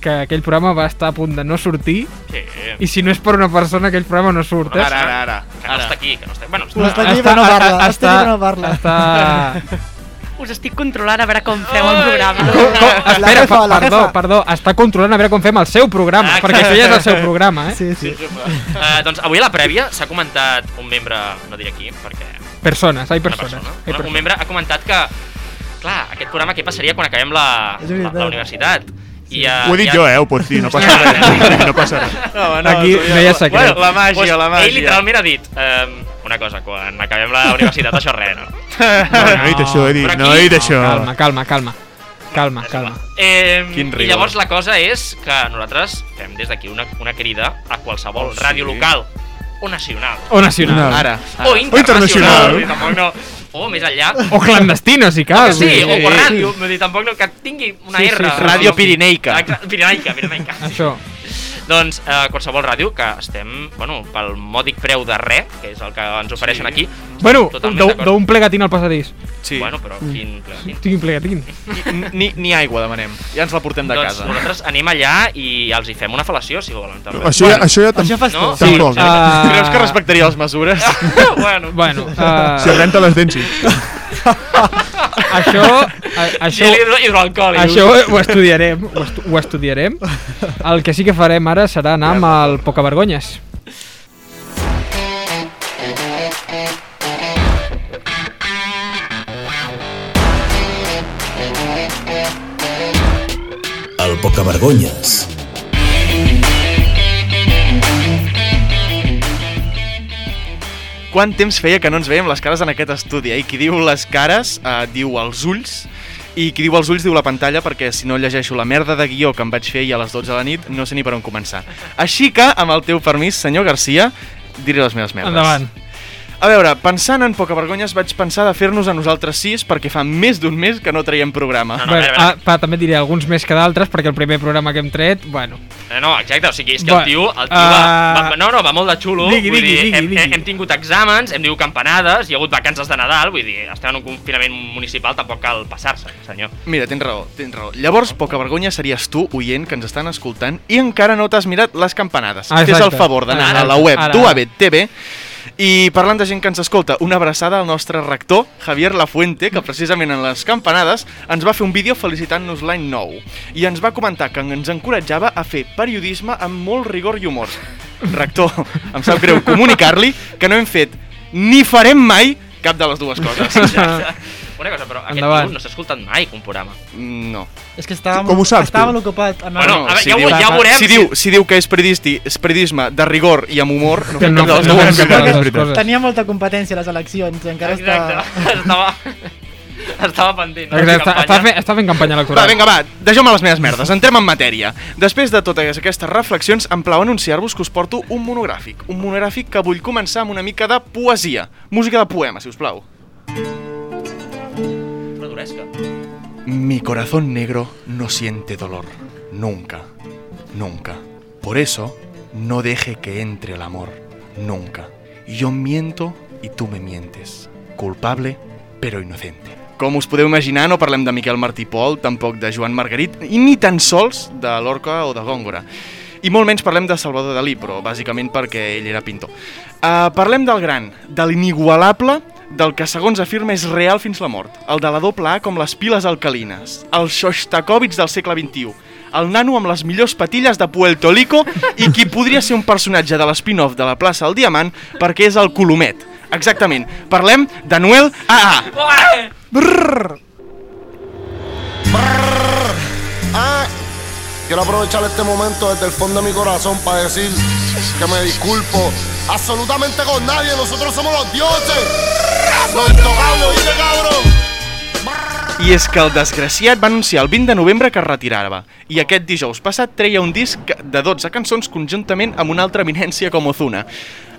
[SPEAKER 1] que aquell programa va estar a punt de no sortir,
[SPEAKER 6] Sí.
[SPEAKER 1] i si no és per una persona, aquell programa no surt, eh?
[SPEAKER 5] Ara, ara, ara.
[SPEAKER 6] Que no està aquí, que no està... Bueno,
[SPEAKER 2] No
[SPEAKER 6] està...
[SPEAKER 2] està- aquí, però no parla, està aquí, però no parla.
[SPEAKER 1] Està...
[SPEAKER 9] Us estic controlant a veure com feu el programa.
[SPEAKER 1] Com, com,
[SPEAKER 2] La
[SPEAKER 1] espera,
[SPEAKER 2] jefa,
[SPEAKER 1] pa,
[SPEAKER 2] la
[SPEAKER 1] perdó,
[SPEAKER 2] jefa.
[SPEAKER 1] perdó, està controlant a veure com fem el seu programa,
[SPEAKER 6] Ah,
[SPEAKER 1] perquè això ja és el seu programa, eh?
[SPEAKER 2] Sí, sí.
[SPEAKER 6] Uh, doncs avui a la prèvia s'ha comentat un membre, no diré aquí, perquè...
[SPEAKER 1] Persones, hi
[SPEAKER 6] Una
[SPEAKER 1] persones. Hi
[SPEAKER 6] persona. Una, un
[SPEAKER 1] persones.
[SPEAKER 6] membre ha comentat que... Clar, aquest programa què passaria quan acabem la,
[SPEAKER 2] És
[SPEAKER 6] la,
[SPEAKER 2] veritat.
[SPEAKER 6] la universitat? I, uh,
[SPEAKER 4] Ho he dit jo,
[SPEAKER 6] *laughs*
[SPEAKER 4] eh? Ho pots dir, no passa res. No passa res.
[SPEAKER 5] No,
[SPEAKER 1] Aquí no hi ha secret.
[SPEAKER 5] Bueno, la màgia,
[SPEAKER 6] pues,
[SPEAKER 5] la màgia.
[SPEAKER 6] Ell literalment ha dit um, una cosa, quan acabem la universitat això res, no?
[SPEAKER 4] No, no he dit això, he dit, no he dit això.
[SPEAKER 1] Calma, calma, calma. Calma, calma.
[SPEAKER 6] Eh,
[SPEAKER 5] Quin
[SPEAKER 6] I
[SPEAKER 5] rigor.
[SPEAKER 6] llavors la cosa és que nosaltres fem des d'aquí una, una crida a qualsevol
[SPEAKER 5] Oh, sí.
[SPEAKER 6] ràdio local o nacional
[SPEAKER 1] O nacional.
[SPEAKER 4] No.
[SPEAKER 5] *laughs* Ara. ara.
[SPEAKER 6] o internacional,
[SPEAKER 4] internacional.
[SPEAKER 6] vull dir, tampoc no, o més enllà,
[SPEAKER 1] O clandestino, si cal.
[SPEAKER 6] sí,
[SPEAKER 1] vull dir.
[SPEAKER 6] o per
[SPEAKER 5] sí.
[SPEAKER 6] ràdio, vull dir, tampoc no, que tingui una
[SPEAKER 1] Sí, sí,
[SPEAKER 6] R.
[SPEAKER 1] sí, sí.
[SPEAKER 5] Ràdio Pirineica.
[SPEAKER 6] Exacte, Pirineica, Pirineica.
[SPEAKER 1] Això.
[SPEAKER 6] Doncs eh, qualsevol ràdio que estem, bueno, pel mòdic preu de re, que és el que ens ofereixen
[SPEAKER 5] Sí.
[SPEAKER 6] aquí.
[SPEAKER 1] Bueno,
[SPEAKER 6] Totalment
[SPEAKER 1] d'un-
[SPEAKER 6] d'acord.
[SPEAKER 1] d'un plegatín al passadís.
[SPEAKER 5] Sí.
[SPEAKER 6] Bueno, però quin... quin
[SPEAKER 1] Tinc un plegatín.
[SPEAKER 5] Ni- Ni, ni aigua demanem. Ja ens la portem de
[SPEAKER 6] doncs
[SPEAKER 5] casa.
[SPEAKER 6] nosaltres anem allà i els hi fem una fel·lació, si volen, també.
[SPEAKER 4] Això, ja, això ja tam
[SPEAKER 2] Això fas tu.
[SPEAKER 6] No?
[SPEAKER 4] tampoc.
[SPEAKER 6] Sí.
[SPEAKER 1] Ah,
[SPEAKER 5] Creus que respectaria les mesures?
[SPEAKER 1] *laughs*
[SPEAKER 6] *laughs* bueno,
[SPEAKER 1] Bueno, ah,
[SPEAKER 4] Si renta les dents, sí.
[SPEAKER 1] això, a-
[SPEAKER 6] Això...
[SPEAKER 1] això,
[SPEAKER 6] Gel hidroalcohòlic.
[SPEAKER 1] això ho estudiarem, ho, estu ho estudiarem. El que sí que farem ara serà anar amb el Pocavergonyes.
[SPEAKER 3] El Pocavergonyes.
[SPEAKER 5] Quant temps feia que no ens veiem les cares en aquest estudi, eh? I qui diu les cares eh, diu els ulls, i qui diu els ulls diu la pantalla, perquè si no llegeixo la merda de guió que em vaig fer ahir a les 12 de la nit, no sé ni per on començar. Així que, amb el teu permís, senyor Garcia, diré les meves merdes.
[SPEAKER 1] Endavant.
[SPEAKER 5] A veure, pensant en poca vergonyes, vaig pensar de fer-nos a nosaltres sis, perquè fa més d'un mes que no traiem programa.
[SPEAKER 6] No, no, a
[SPEAKER 1] Bueno,
[SPEAKER 6] veure, a
[SPEAKER 1] ah, pa, també et diré alguns més que d'altres, perquè el primer programa que hem tret, bueno...
[SPEAKER 6] veure. Eh, No, exacte, o sigui, és que
[SPEAKER 1] Bueno,
[SPEAKER 6] el tio, el tio
[SPEAKER 1] ah,
[SPEAKER 6] va, va, no, no, va molt de xulo,
[SPEAKER 1] digui,
[SPEAKER 6] vull
[SPEAKER 1] digui,
[SPEAKER 6] dir,
[SPEAKER 1] digui,
[SPEAKER 6] hem,
[SPEAKER 1] digui.
[SPEAKER 6] hem tingut exàmens, hem tingut campanades, hi ha hagut vacances de Nadal, vull dir, estem en un confinament municipal, tampoc cal passar-se,
[SPEAKER 1] *laughs*
[SPEAKER 6] senyor.
[SPEAKER 5] Mira, tens raó, tens raó. Llavors, poca vergonya series tu, oient, que ens estan escoltant i encara no t'has mirat les campanades.
[SPEAKER 1] Ah,
[SPEAKER 5] Fes el
[SPEAKER 1] exacte.
[SPEAKER 5] favor d'anar
[SPEAKER 1] Ara,
[SPEAKER 5] a la web
[SPEAKER 1] ara, ara.
[SPEAKER 5] d'UAB TV I parlant de gent que ens escolta, una abraçada al nostre rector, Javier Lafuente, que precisament en les campanades ens va fer un vídeo felicitant-nos l'any nou i ens va comentar que ens encoratjava a fer periodisme amb molt rigor i humor. Rector, em sap greu comunicar-li que no hem fet ni farem mai cap de les dues coses.
[SPEAKER 6] Una cosa, però aquest
[SPEAKER 1] Endavant.
[SPEAKER 6] tio no s'ha escoltat mai un programa.
[SPEAKER 5] No.
[SPEAKER 10] És que estava,
[SPEAKER 4] Com ho saps,
[SPEAKER 10] estava
[SPEAKER 4] tu?
[SPEAKER 10] molt ocupat. Amb
[SPEAKER 6] Bueno,
[SPEAKER 5] no,
[SPEAKER 6] a veure,
[SPEAKER 5] si
[SPEAKER 6] ja,
[SPEAKER 5] diu-
[SPEAKER 6] ho,
[SPEAKER 1] Ah,
[SPEAKER 6] ja veurem.
[SPEAKER 5] Si diu, si diu que és periodisti, és periodisme de rigor i amb humor, no
[SPEAKER 1] *laughs* Que
[SPEAKER 5] fem
[SPEAKER 1] no,
[SPEAKER 5] cap de les
[SPEAKER 1] no,
[SPEAKER 5] dues.
[SPEAKER 1] fem cap de les
[SPEAKER 4] Perquè
[SPEAKER 1] dues coses.
[SPEAKER 10] Tenia molta competència a les eleccions, encara
[SPEAKER 6] Exacte. *laughs* Estava... Estava pendent. no?
[SPEAKER 1] Exacte, està,
[SPEAKER 6] Campanya.
[SPEAKER 1] està, fent, està fent campanya
[SPEAKER 5] Va,
[SPEAKER 1] electoral.
[SPEAKER 5] vinga, va, deixeu-me les meves merdes, entrem en matèria. Després de totes aquestes reflexions, em plau anunciar-vos que us porto un monogràfic. Un monogràfic que vull començar amb una mica de poesia. Música de poema, si us plau.
[SPEAKER 6] Però duresca.
[SPEAKER 5] Mi corazón negro no siente dolor. Nunca. Nunca. Por eso, no deje que entre el amor. Nunca. Yo miento y tú me mientes. Culpable, pero inocente. Com us podeu imaginar, no parlem de Miquel Martí Pol, tampoc de Joan Margarit, i ni tan sols de Lorca o de Góngora. I molt menys parlem de Salvador Dalí, però bàsicament perquè ell era pintor. Uh, parlem del gran, de l'inigualable, del que segons afirma és real fins la mort, el de la doble A com les piles alcalines, el Shostakovich del segle XXI, el nano amb les millors patilles de Puerto Rico i qui podria ser un personatge de l'espin-off de la plaça El Diamant perquè és el Colomet. Exactament, parlem de Noel A.A.
[SPEAKER 6] Ué!
[SPEAKER 11] Ah, quiero aprovechar este momento desde el fondo de mi corazón para decir que me disculpo absolutamente con nadie. Nosotros somos los dioses. Los intocables, oíste, cabrón.
[SPEAKER 5] I és que el desgraciat va anunciar el 20 de novembre que es retirava, i aquest dijous passat treia un disc de 12 cançons conjuntament amb una altra eminència com Ozuna.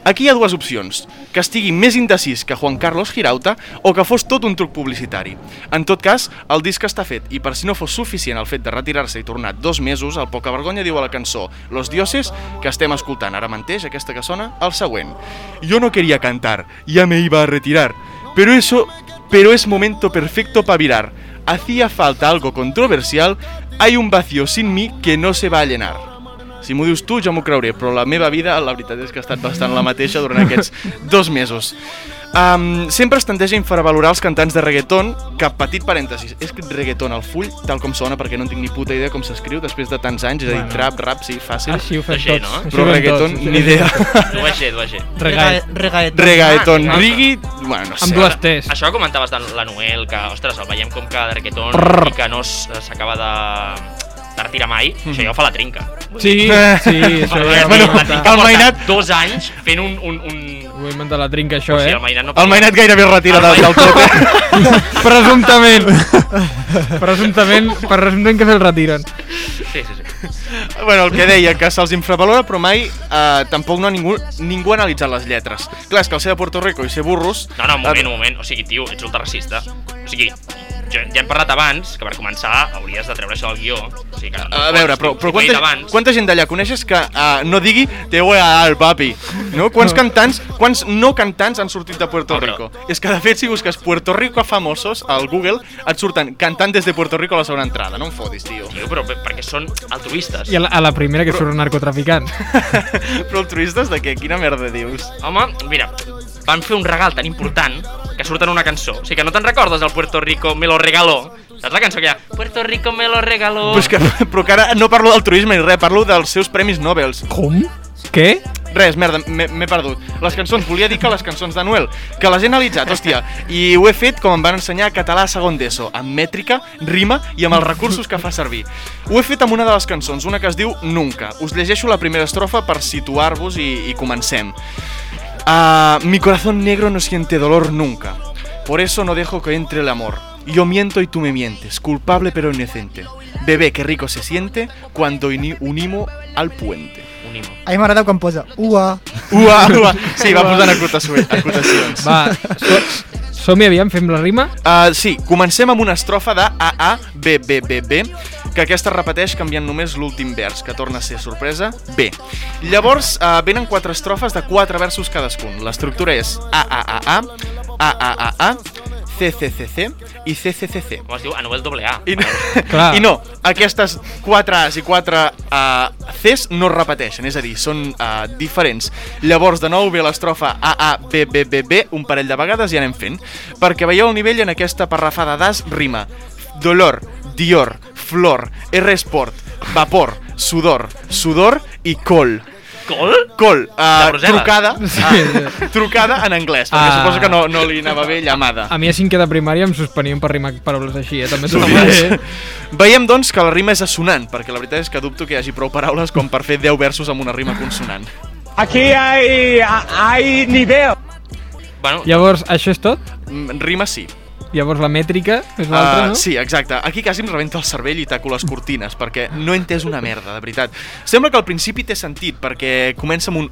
[SPEAKER 5] Aquí hi ha dues opcions, que estigui més indecís que Juan Carlos Girauta o que fos tot un truc publicitari. En tot cas, el disc està fet i per si no fos suficient el fet de retirar-se i tornar dos mesos, el poca vergonya diu a la cançó Los Dioses, que estem escoltant ara mateix, aquesta que sona, el següent. Yo no quería cantar, ya me iba a retirar, pero eso pero es momento perfecto para virar. Hacía falta algo controversial, hay un vacío sin mi que no se va a llenar. Si m'ho dius tu, jo m'ho creuré, però la meva vida, la veritat és que ha estat bastant la mateixa durant
[SPEAKER 1] *laughs*
[SPEAKER 5] aquests dos mesos. Um, sempre es tendeix a infravalorar els cantants de reggaeton, que, petit parèntesis, he escrit reggaeton al full, tal com sona, perquè no en tinc ni puta idea com s'escriu després de tants anys, és a dir,
[SPEAKER 1] Bueno.
[SPEAKER 5] trap, rap, sí, fàcil,
[SPEAKER 1] Així ho fem
[SPEAKER 6] Així,
[SPEAKER 1] tots.
[SPEAKER 6] no?
[SPEAKER 1] Així ho
[SPEAKER 5] però
[SPEAKER 1] fem
[SPEAKER 5] reggaeton,
[SPEAKER 1] tots.
[SPEAKER 5] ni idea.
[SPEAKER 1] *laughs*
[SPEAKER 6] Ho vaig fer, ho vaig fer.
[SPEAKER 1] Regai.
[SPEAKER 10] Regaet.
[SPEAKER 5] Reggaeton,
[SPEAKER 6] Ah,
[SPEAKER 5] rigui, bueno, no sé.
[SPEAKER 1] Amb dues T's.
[SPEAKER 6] Això que comentaves de la Noel, que, ostres, el veiem com que de reggaeton i que no s- s'acaba de de retirar mai, això ja ho fa la trinca.
[SPEAKER 1] Sí, sí, això ja ho
[SPEAKER 6] Bueno,
[SPEAKER 1] he
[SPEAKER 6] bueno, la
[SPEAKER 1] inventat.
[SPEAKER 6] trinca
[SPEAKER 5] el
[SPEAKER 6] porta
[SPEAKER 5] mainat-
[SPEAKER 6] dos anys fent un... un, un...
[SPEAKER 1] Ho he inventat la trinca, això,
[SPEAKER 6] O sigui,
[SPEAKER 1] eh?
[SPEAKER 6] el mainat no
[SPEAKER 5] El Mainat gairebé es retira del, del tot, eh?
[SPEAKER 1] Presumptament. Presumptament, per presumptament que se'l retiren.
[SPEAKER 6] Sí, sí, sí.
[SPEAKER 5] Bueno, el que deia, que se'ls infravalora, però mai eh, tampoc no ha ningú, ningú ha analitzat les lletres. Clar, és que el ser de Puerto Rico i ser burros...
[SPEAKER 6] No, no, un moment,
[SPEAKER 5] eh,
[SPEAKER 6] un moment. O sigui, tio, ets ultraracista. O sigui, jo, ja hem parlat abans que per començar hauries de treure això del guió. O sigui, que
[SPEAKER 5] A
[SPEAKER 6] no pots,
[SPEAKER 5] veure, però,
[SPEAKER 6] tio,
[SPEAKER 5] però
[SPEAKER 6] si ho he dit
[SPEAKER 5] quanta,
[SPEAKER 6] abans,
[SPEAKER 5] quanta gent d'allà coneixes que uh, no digui te voy a dar, papi? No? Quants cantants, quants no cantants han sortit de Puerto
[SPEAKER 6] No, però-
[SPEAKER 5] Rico? És que, de fet, si busques Puerto Rico famosos al Google, et surten cantantes de Puerto Rico a la segona entrada. No em fotis, tio. *laughs*
[SPEAKER 6] Tio, però per- perquè són altruistes.
[SPEAKER 1] I a la, a la primera que surt un narcotraficant.
[SPEAKER 5] però altruistes de què? Quina merda dius?
[SPEAKER 6] Home, mira, van fer un regal tan important que surten una cançó. O sigui que no te'n recordes del Puerto Rico me lo regaló? Saps la cançó que hi ha? Puerto Rico me lo regaló.
[SPEAKER 5] Però, és que, però que ara no parlo d'altruisme ni res, parlo dels seus premis Nobels.
[SPEAKER 1] Com? Què?
[SPEAKER 5] Res, merda, m'he m'he perdut. Les cançons, volia dir que les cançons de Noel, que les he analitzat, hòstia, i ho he fet com em van ensenyar a català a segon d'ESO, amb mètrica, rima i amb els recursos que fa servir. Ho he fet amb una de les cançons, una que es diu Nunca. Us llegeixo la primera estrofa per situar-vos i, i comencem. Ah, mi corazón negro no siente dolor nunca. Por eso no dejo que entre el amor. Yo miento y tú me mientes, culpable pero inocente. Bebé, qué rico se siente cuando ini- unimo al puente.
[SPEAKER 6] Unimo.
[SPEAKER 2] A mi m'agrada quan posa ua.
[SPEAKER 5] Ua, ua. Sí, va posant acotaço- acotacions.
[SPEAKER 1] Va, so, som-hi, aviam, fem la rima.
[SPEAKER 5] Uh, sí, comencem amb una estrofa de A, A, B, B, B, B, que aquesta es repeteix canviant només l'últim vers, que torna a ser sorpresa, B. Llavors, uh, venen quatre estrofes de quatre versos cadascun. L'estructura és A, A, A, A, A, A, A, A, C, C, C, C, i CCCC.
[SPEAKER 6] Com es diu? Ah, A Nobel AA.
[SPEAKER 5] I no,
[SPEAKER 6] Clar.
[SPEAKER 5] *laughs* I no aquestes 4 As i 4 uh, Cs no es repeteixen, és a dir, són uh, diferents. Llavors, de nou ve l'estrofa AABBBB un parell de vegades i anem fent. Perquè veieu el nivell en aquesta parrafada d'As rima. Dolor, Dior, Flor, R-Sport, Vapor, Sudor, Sudor i Col.
[SPEAKER 6] Col?
[SPEAKER 5] Col. Uh,
[SPEAKER 1] Brussel·les.
[SPEAKER 5] trucada, uh, trucada en anglès, perquè
[SPEAKER 1] Ah.
[SPEAKER 5] suposo que no, no li anava bé llamada.
[SPEAKER 1] A mi a cinquè de primària em suspenien per rimar paraules així, eh? També t'ho diré.
[SPEAKER 5] Sovint. Veiem, doncs, que la rima és assonant, perquè la veritat és que dubto que hi hagi prou paraules com per fer 10 versos amb una rima consonant.
[SPEAKER 12] Aquí hay, hay nivel.
[SPEAKER 6] Bueno,
[SPEAKER 1] Llavors, això és tot?
[SPEAKER 5] Mm, Rima sí.
[SPEAKER 1] Llavors la mètrica és l'altra,
[SPEAKER 5] Ah,
[SPEAKER 1] no?
[SPEAKER 5] Sí, exacte. Aquí quasi em rebenta el cervell i taco les cortines, perquè no he entès una merda, de veritat. Sembla que al principi té sentit, perquè comença amb un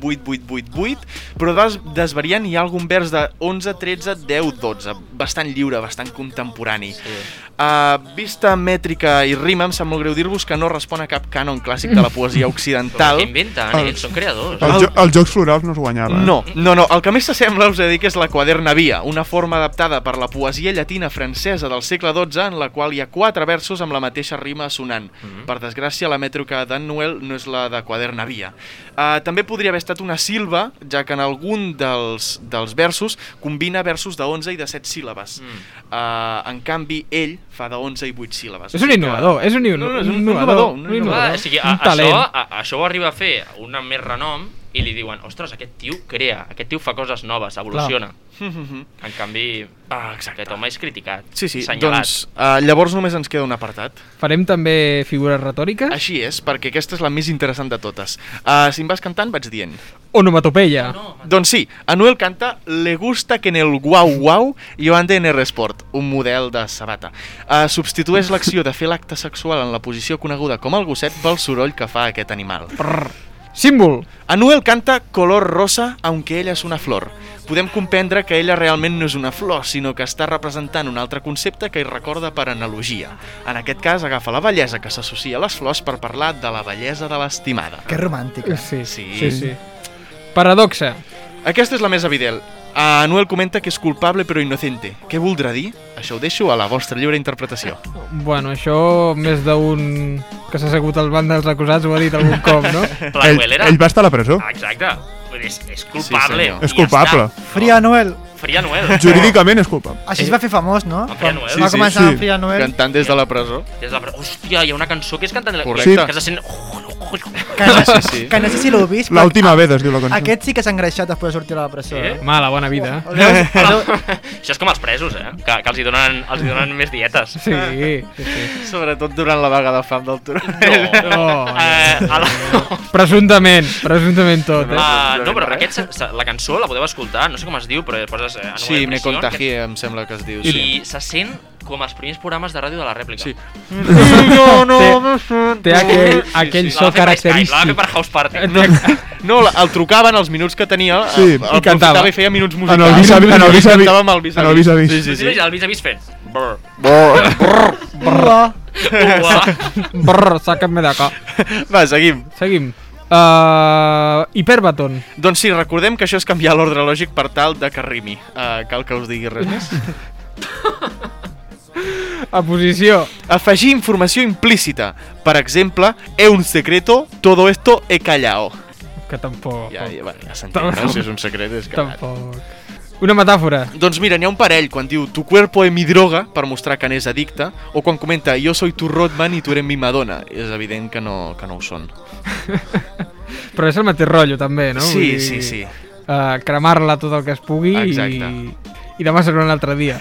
[SPEAKER 5] 11-11-8-8-8-8, però des desvariant hi ha algun vers de 11-13-10-12, bastant lliure, bastant contemporani. Sí. Uh, vista mètrica i rima, em sap molt greu dir-vos que no respon a cap cànon clàssic de la poesia
[SPEAKER 1] *laughs*
[SPEAKER 5] occidental.
[SPEAKER 6] Però què inventen? eh,
[SPEAKER 5] El-
[SPEAKER 6] Ells són creadors.
[SPEAKER 4] Els, jo els jocs florals no es eh? guanyaven.
[SPEAKER 5] No, no, no. El que més s'assembla, us he de dir, que és la quaderna via, una forma adaptada per la poesia llatina francesa del segle XII, en la qual hi ha quatre versos amb la mateixa rima sonant. Mm -hmm. Per desgràcia, la mètrica d'en Noel no és la de quaderna via. Uh, també podria haver estat una silva, ja que en algun dels, dels versos combina versos de 11 i de 7 síl·labes. Mm. Uh, en canvi, ell fa de 11 i 8 síl·labes.
[SPEAKER 1] És un innovador, és un inno-
[SPEAKER 5] No, no, és un
[SPEAKER 1] un
[SPEAKER 5] innovador.
[SPEAKER 1] innovador,
[SPEAKER 5] un
[SPEAKER 1] un
[SPEAKER 5] innovador.
[SPEAKER 6] Ah, o sigui, a,
[SPEAKER 1] Un
[SPEAKER 6] això,
[SPEAKER 1] talent.
[SPEAKER 6] a, això ho arriba a fer un amb més renom i li diuen, ostres, aquest tio crea, aquest tio fa coses noves, evoluciona. En canvi, ah, aquest home és criticat,
[SPEAKER 5] Sí, sí,
[SPEAKER 6] senyalat.
[SPEAKER 5] doncs uh, llavors només ens queda un apartat.
[SPEAKER 1] Farem també figures retòriques?
[SPEAKER 5] Així és, perquè aquesta és la més interessant de totes. Uh, si em vas cantant, vaig dient.
[SPEAKER 1] Onomatopeia.
[SPEAKER 5] Doncs sí, Anuel canta Le gusta que en el guau guau jo ande en el sport, un model de sabata. Uh, substitueix l'acció de fer l'acte sexual en la posició coneguda com el gosset pel soroll que fa aquest animal. Prrr.
[SPEAKER 1] Símbol.
[SPEAKER 5] Anuel canta color rosa, aunque ella és una flor. Podem comprendre que ella realment no és una flor, sinó que està representant un altre concepte que hi recorda per analogia. En aquest cas, agafa la bellesa que s'associa a les flors per parlar de la bellesa de l'estimada.
[SPEAKER 2] Que romàntica.
[SPEAKER 1] Sí,
[SPEAKER 5] Ah, sí.
[SPEAKER 1] sí, sí. Paradoxa.
[SPEAKER 5] Aquesta és la més evident. Ah, Anuel comenta que és culpable però innocente. Què voldrà dir? Això ho deixo a la vostra lliure interpretació.
[SPEAKER 1] Bueno, això més d'un que s'ha assegut al banc dels acusats ho ha dit algun cop,
[SPEAKER 5] *laughs*
[SPEAKER 1] no?
[SPEAKER 6] La
[SPEAKER 4] Ell-
[SPEAKER 6] Noelera.
[SPEAKER 4] ell va estar a la presó.
[SPEAKER 6] Ah, Exacte. Vull dir, És, és culpable.
[SPEAKER 4] senyor. És culpable.
[SPEAKER 2] Fria Noel.
[SPEAKER 6] Fria Noel. *laughs*
[SPEAKER 4] Jurídicament és culpable.
[SPEAKER 2] Així es va fer famós, no?
[SPEAKER 6] Fria Noel.
[SPEAKER 2] Va començar amb Fria Noel.
[SPEAKER 5] Cantant des de la presó.
[SPEAKER 6] Des de la... pre- Hòstia, hi ha una cançó que és cantant... de la-
[SPEAKER 5] Correcte.
[SPEAKER 6] Que se sent... Oh,
[SPEAKER 2] Que
[SPEAKER 6] *laughs*
[SPEAKER 5] Ah,
[SPEAKER 2] no, sí, sí. Que no sé si l'heu vist.
[SPEAKER 4] La
[SPEAKER 2] però
[SPEAKER 4] última vez es diu la cançó.
[SPEAKER 2] Aquest sí que s'ha engreixat després de sortir de la presó.
[SPEAKER 6] Sí?
[SPEAKER 2] Eh?
[SPEAKER 1] Mala, bona vida.
[SPEAKER 6] Això és com els presos, eh? Que, que els, hi donen, els hi donen més dietes.
[SPEAKER 1] Sí, sí, sí.
[SPEAKER 5] Sobretot durant la vaga de fam del Turonel.
[SPEAKER 6] No.
[SPEAKER 1] Oh,
[SPEAKER 6] eh, a la...
[SPEAKER 1] Presumptament, presumptament tot,
[SPEAKER 5] Ah,
[SPEAKER 1] eh?
[SPEAKER 6] Uh, no, però aquest, se- se- la cançó la podeu escoltar, no sé com es diu, però poses... Eh, Anuel
[SPEAKER 5] Sí, me
[SPEAKER 6] Prisión,
[SPEAKER 5] contagié, em sembla que es diu.
[SPEAKER 6] que- I se sent com els primers programes de ràdio de la rèplica. Sí.
[SPEAKER 5] No, no, no
[SPEAKER 1] Té aquell, aquell so
[SPEAKER 6] La va
[SPEAKER 1] característic.
[SPEAKER 6] fer per House Party.
[SPEAKER 5] No, la- el trucaven els minuts que tenia,
[SPEAKER 4] Sí, i
[SPEAKER 5] el, el
[SPEAKER 4] cantava.
[SPEAKER 5] i feia minuts
[SPEAKER 4] En el
[SPEAKER 5] musicals.
[SPEAKER 4] vis-a-vis- en el
[SPEAKER 5] I
[SPEAKER 4] vis-a-vis-
[SPEAKER 5] cantava amb el vis-a-vis.
[SPEAKER 4] en el vis-a-vis.
[SPEAKER 5] Sí, sí, sí.
[SPEAKER 6] El vis a vis fent... Brr.
[SPEAKER 2] Ua.
[SPEAKER 6] Ua.
[SPEAKER 1] Brr, saca'm de acá.
[SPEAKER 5] *laughs* Va, seguim.
[SPEAKER 1] Seguim. Uh, Hyperbaton.
[SPEAKER 5] Doncs sí, recordem que això és canviar l'ordre lògic per tal de que rimi. Uh, cal que us digui res més?
[SPEAKER 1] A posició.
[SPEAKER 5] Afegir informació implícita. Per exemple, he un secreto, todo esto he callado.
[SPEAKER 1] Que tampoc.
[SPEAKER 5] Ja, ja, va, ja s'entén, no? Si és un secret, és que...
[SPEAKER 1] Tampoc. Una metàfora.
[SPEAKER 5] Doncs mira, n'hi ha un parell quan diu tu cuerpo es mi droga, per mostrar que n'és addicte, o quan comenta jo soy tu Rodman i tu eres mi Madonna. És evident que no, que no ho són.
[SPEAKER 1] Però és el mateix rotllo, també, no?
[SPEAKER 5] Sí, sí, sí.
[SPEAKER 1] Uh, Cremar-la tot el que es pugui
[SPEAKER 5] Exacte.
[SPEAKER 1] i, i demà serà un altre dia.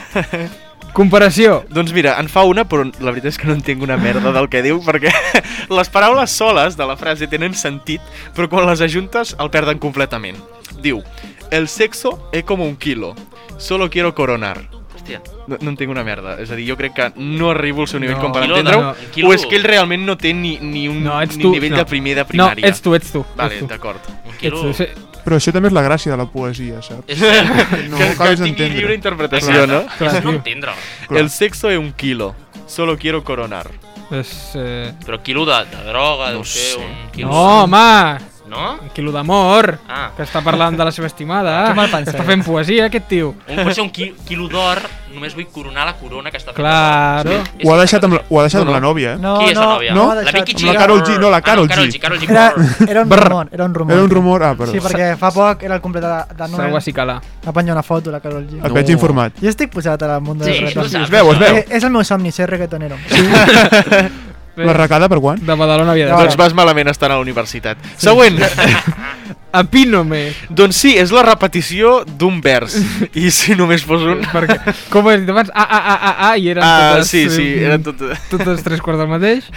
[SPEAKER 1] Comparació.
[SPEAKER 5] Doncs mira, en fa una, però la veritat és que no entenc una merda del que diu, perquè *laughs* les paraules soles de la frase tenen sentit, però quan les ajuntes el perden completament. Diu, el sexo es como un kilo, solo quiero coronar.
[SPEAKER 6] Hòstia.
[SPEAKER 5] No, no entenc una merda. És a dir, jo crec que no arribo al seu nivell
[SPEAKER 1] No.
[SPEAKER 5] com per
[SPEAKER 1] Quilo,
[SPEAKER 5] entendre-ho,
[SPEAKER 1] no, no.
[SPEAKER 5] o és que ell realment no té ni, ni un
[SPEAKER 1] No, ets
[SPEAKER 5] ni
[SPEAKER 1] tu,
[SPEAKER 5] nivell
[SPEAKER 1] no.
[SPEAKER 5] de primer de
[SPEAKER 1] No,
[SPEAKER 5] primària.
[SPEAKER 1] ets tu, ets tu,
[SPEAKER 5] Vale,
[SPEAKER 1] ets tu.
[SPEAKER 5] d'acord.
[SPEAKER 1] Ets tu, sí.
[SPEAKER 4] Però això també és la gràcia de la poesia, saps?
[SPEAKER 5] No,
[SPEAKER 4] No
[SPEAKER 5] que,
[SPEAKER 4] ho
[SPEAKER 5] que
[SPEAKER 4] acabes
[SPEAKER 5] tingui
[SPEAKER 4] d'entendre.
[SPEAKER 5] lliure interpretació,
[SPEAKER 4] Clar,
[SPEAKER 5] no?
[SPEAKER 4] clar, És no tio.
[SPEAKER 6] entendre-ho.
[SPEAKER 5] El sexo es un kilo, solo quiero coronar.
[SPEAKER 1] És, eh...
[SPEAKER 6] Però quilo de, de droga, no deu ser
[SPEAKER 5] sé.
[SPEAKER 6] un quilo...
[SPEAKER 1] No, home!
[SPEAKER 6] No?
[SPEAKER 1] Un quilo d'amor,
[SPEAKER 6] Ah.
[SPEAKER 1] que està parlant de la seva estimada.
[SPEAKER 6] Que mal pensat.
[SPEAKER 1] Està fent poesia, aquest tio.
[SPEAKER 6] Un, pot ser un qui, quilo d'or, només vull coronar la corona que està fent.
[SPEAKER 1] Claro.
[SPEAKER 4] Ho ha deixat amb la, ho ha deixat amb la nòvia, eh?
[SPEAKER 6] Qui és la nòvia?
[SPEAKER 4] No?
[SPEAKER 6] La Vicky G.
[SPEAKER 4] La Carol G, no, la Carol
[SPEAKER 6] Karol
[SPEAKER 4] G.
[SPEAKER 6] G, Karol G.
[SPEAKER 2] Era, era un rumor, era un rumor.
[SPEAKER 4] Era un rumor, ah, perdó.
[SPEAKER 2] Sí, perquè fa poc era el complet de, de Noel.
[SPEAKER 1] S'ha guacicalat.
[SPEAKER 2] Va penjar una foto, la Carol G.
[SPEAKER 4] Et veig informat.
[SPEAKER 2] Jo estic posat al món
[SPEAKER 4] Sí,
[SPEAKER 2] del reggaeton.
[SPEAKER 4] tu saps, Es veu, es això. veu.
[SPEAKER 2] Eh, És el meu somni, ser reggaetonero.
[SPEAKER 4] La recada per quan?
[SPEAKER 1] De Badalona havia
[SPEAKER 5] Doncs vas malament estar a la universitat.
[SPEAKER 1] *laughs*
[SPEAKER 5] Següent.
[SPEAKER 1] Apínome.
[SPEAKER 5] Doncs sí, és la repetició d'un vers. I si només fos un...
[SPEAKER 1] Perquè, com has dit abans, ah, ah, ah, ah, ah i eren
[SPEAKER 5] Ah,
[SPEAKER 1] totes...
[SPEAKER 5] sí, sí,
[SPEAKER 1] eh,
[SPEAKER 5] eren Eh. totes-
[SPEAKER 1] Totes tres quarts del mateix.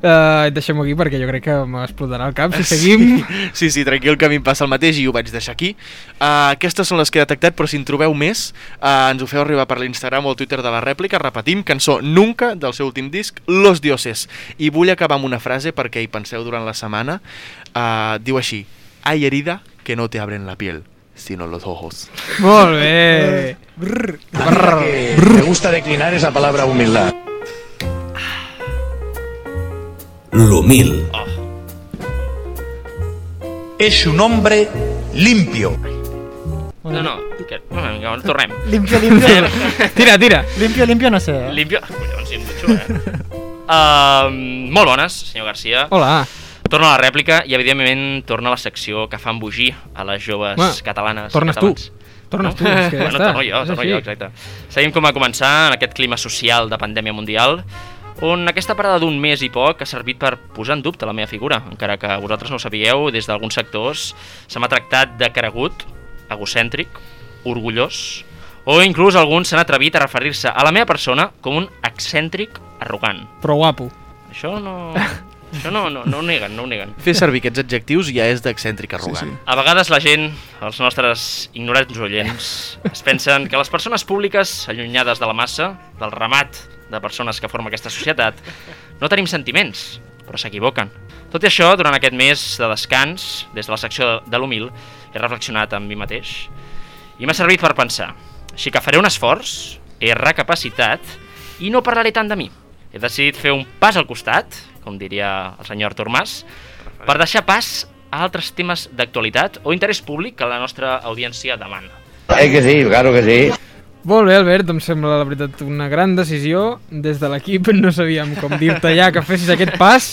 [SPEAKER 1] Uh, et deixem aquí perquè jo crec que m'explotarà el cap si seguim.
[SPEAKER 5] Eh, Sí, sí, tranquil, que a mi em passa el mateix i ho vaig deixar aquí. Uh, aquestes són les que he detectat, però si en trobeu més, uh, ens ho feu arribar per l'Instagram o el Twitter de la rèplica. Repetim, cançó Nunca, del seu últim disc, Los Dioses. I vull acabar amb una frase perquè hi penseu durant la setmana. Uh, diu així, Hay herida que no te abren la piel, sino los ojos.
[SPEAKER 1] Molt
[SPEAKER 5] Eh.
[SPEAKER 1] bé.
[SPEAKER 3] Me gusta declinar esa palabra humildad. L'humil. Es un hombre limpio.
[SPEAKER 6] No, no, que... Una
[SPEAKER 4] *laughs*
[SPEAKER 6] mica, on tornem.
[SPEAKER 2] Limpio, limpio.
[SPEAKER 1] tira, tira.
[SPEAKER 2] Limpio, limpio, no sé. eh?
[SPEAKER 6] Limpio... Ah, Collons, sí, em dutxo, eh? Uh, molt bones, senyor Garcia.
[SPEAKER 1] Hola.
[SPEAKER 6] Torno a la rèplica i, evidentment, torna a la secció que fa embogir a les joves
[SPEAKER 1] Bueno,
[SPEAKER 6] catalanes.
[SPEAKER 1] tornes tu.
[SPEAKER 6] catalans.
[SPEAKER 1] Tornes
[SPEAKER 6] No?
[SPEAKER 1] tu, és que ja
[SPEAKER 6] *laughs* bueno,
[SPEAKER 1] està.
[SPEAKER 6] torno jo,
[SPEAKER 1] És
[SPEAKER 6] torno
[SPEAKER 1] així.
[SPEAKER 6] jo, exacte. Seguim com a començar en aquest clima social de pandèmia mundial, on aquesta parada d'un mes i poc ha servit per posar en dubte la meva figura, encara que vosaltres no ho sabíeu, des d'alguns sectors se m'ha tractat de caragut, egocèntric, orgullós, o inclús alguns s'han atrevit a referir-se a la meva persona com un excèntric arrogant.
[SPEAKER 1] Però guapo.
[SPEAKER 6] Això
[SPEAKER 1] *laughs*
[SPEAKER 6] no... Això no, no, no ho neguen, no ho neguen.
[SPEAKER 5] Fer servir aquests adjectius ja és d'excèntric arrogant.
[SPEAKER 6] A vegades la gent, els nostres ignorants oients, es pensen que les persones públiques, allunyades de la massa, del ramat de persones que forma aquesta societat, no tenim sentiments, però s'equivoquen. Tot i això, durant aquest mes de descans, des de la secció de l'humil, he reflexionat amb mi mateix i m'ha servit per pensar. Així que faré un esforç, he recapacitat i no parlaré tant de mi. He decidit fer un pas al costat, com diria el senyor Artur Mas, per deixar pas a altres temes d'actualitat o interès públic que la nostra audiència demana.
[SPEAKER 1] Eh que sí, claro que sí. Molt bé, Albert, em sembla, la veritat, una gran decisió. Des de l'equip *laughs* no sabíem com dir-te ja que fessis aquest pas,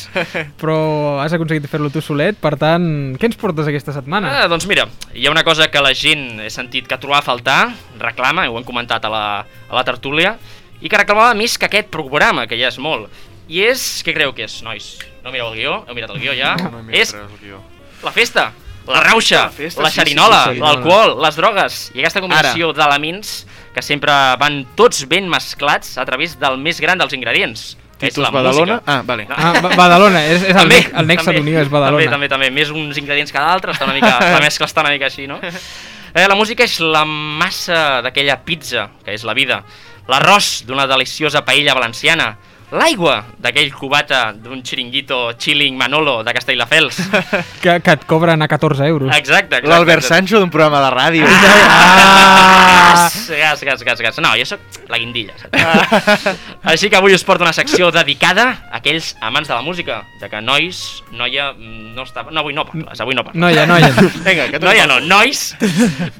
[SPEAKER 1] però has aconseguit fer-lo tu solet. Per tant, què ens portes aquesta setmana?
[SPEAKER 6] Ah, doncs mira, hi ha una cosa que la gent he sentit que trobava a faltar, reclama, ho hem comentat a la, a la tertúlia, i que reclamava més que aquest programa, que ja és molt. I és... què creu que és, nois? No mireu el guió? Heu mirat el guió ja?
[SPEAKER 5] No, no he mirat
[SPEAKER 6] és
[SPEAKER 5] res del guió.
[SPEAKER 6] la festa, la rauxa,
[SPEAKER 5] La
[SPEAKER 6] la,
[SPEAKER 5] festa, sí, sí,
[SPEAKER 6] xerinola,
[SPEAKER 5] la xerinola.
[SPEAKER 6] l'alcohol, les drogues i aquesta combinació d'elements que sempre van tots ben mesclats a través del més gran dels ingredients. que és
[SPEAKER 5] Titus
[SPEAKER 6] la
[SPEAKER 5] Badalona?
[SPEAKER 6] música.
[SPEAKER 5] Ah, vale.
[SPEAKER 1] Ah, Ba- Badalona, és- és el nec- el nexe
[SPEAKER 6] també,
[SPEAKER 1] d'Unió, és Badalona.
[SPEAKER 6] També, també, també. Més uns ingredients que d'altres, està una mica,
[SPEAKER 1] *laughs*
[SPEAKER 6] la mescla està una mica així, no? Eh, la música és la massa d'aquella pizza, que és la vida, l'arròs d'una deliciosa paella valenciana, l'aigua d'aquell cubata d'un xiringuito chilling Manolo de
[SPEAKER 1] *laughs*
[SPEAKER 6] Castelldefels.
[SPEAKER 1] Que, que et cobren a 14 euros.
[SPEAKER 6] Exacte, exacte.
[SPEAKER 5] L'Albert Sancho d'un programa de ràdio.
[SPEAKER 6] Ah! Gas, gas, gas, gas. No, jo sóc la guindilla. saps? Així que avui us porto una secció dedicada a aquells amants de la música, ja que nois, noia, mm, no està... No, avui no parles, avui no parles.
[SPEAKER 1] Noia,
[SPEAKER 6] *laughs*
[SPEAKER 1] noia.
[SPEAKER 6] Vinga, que noia no, nois.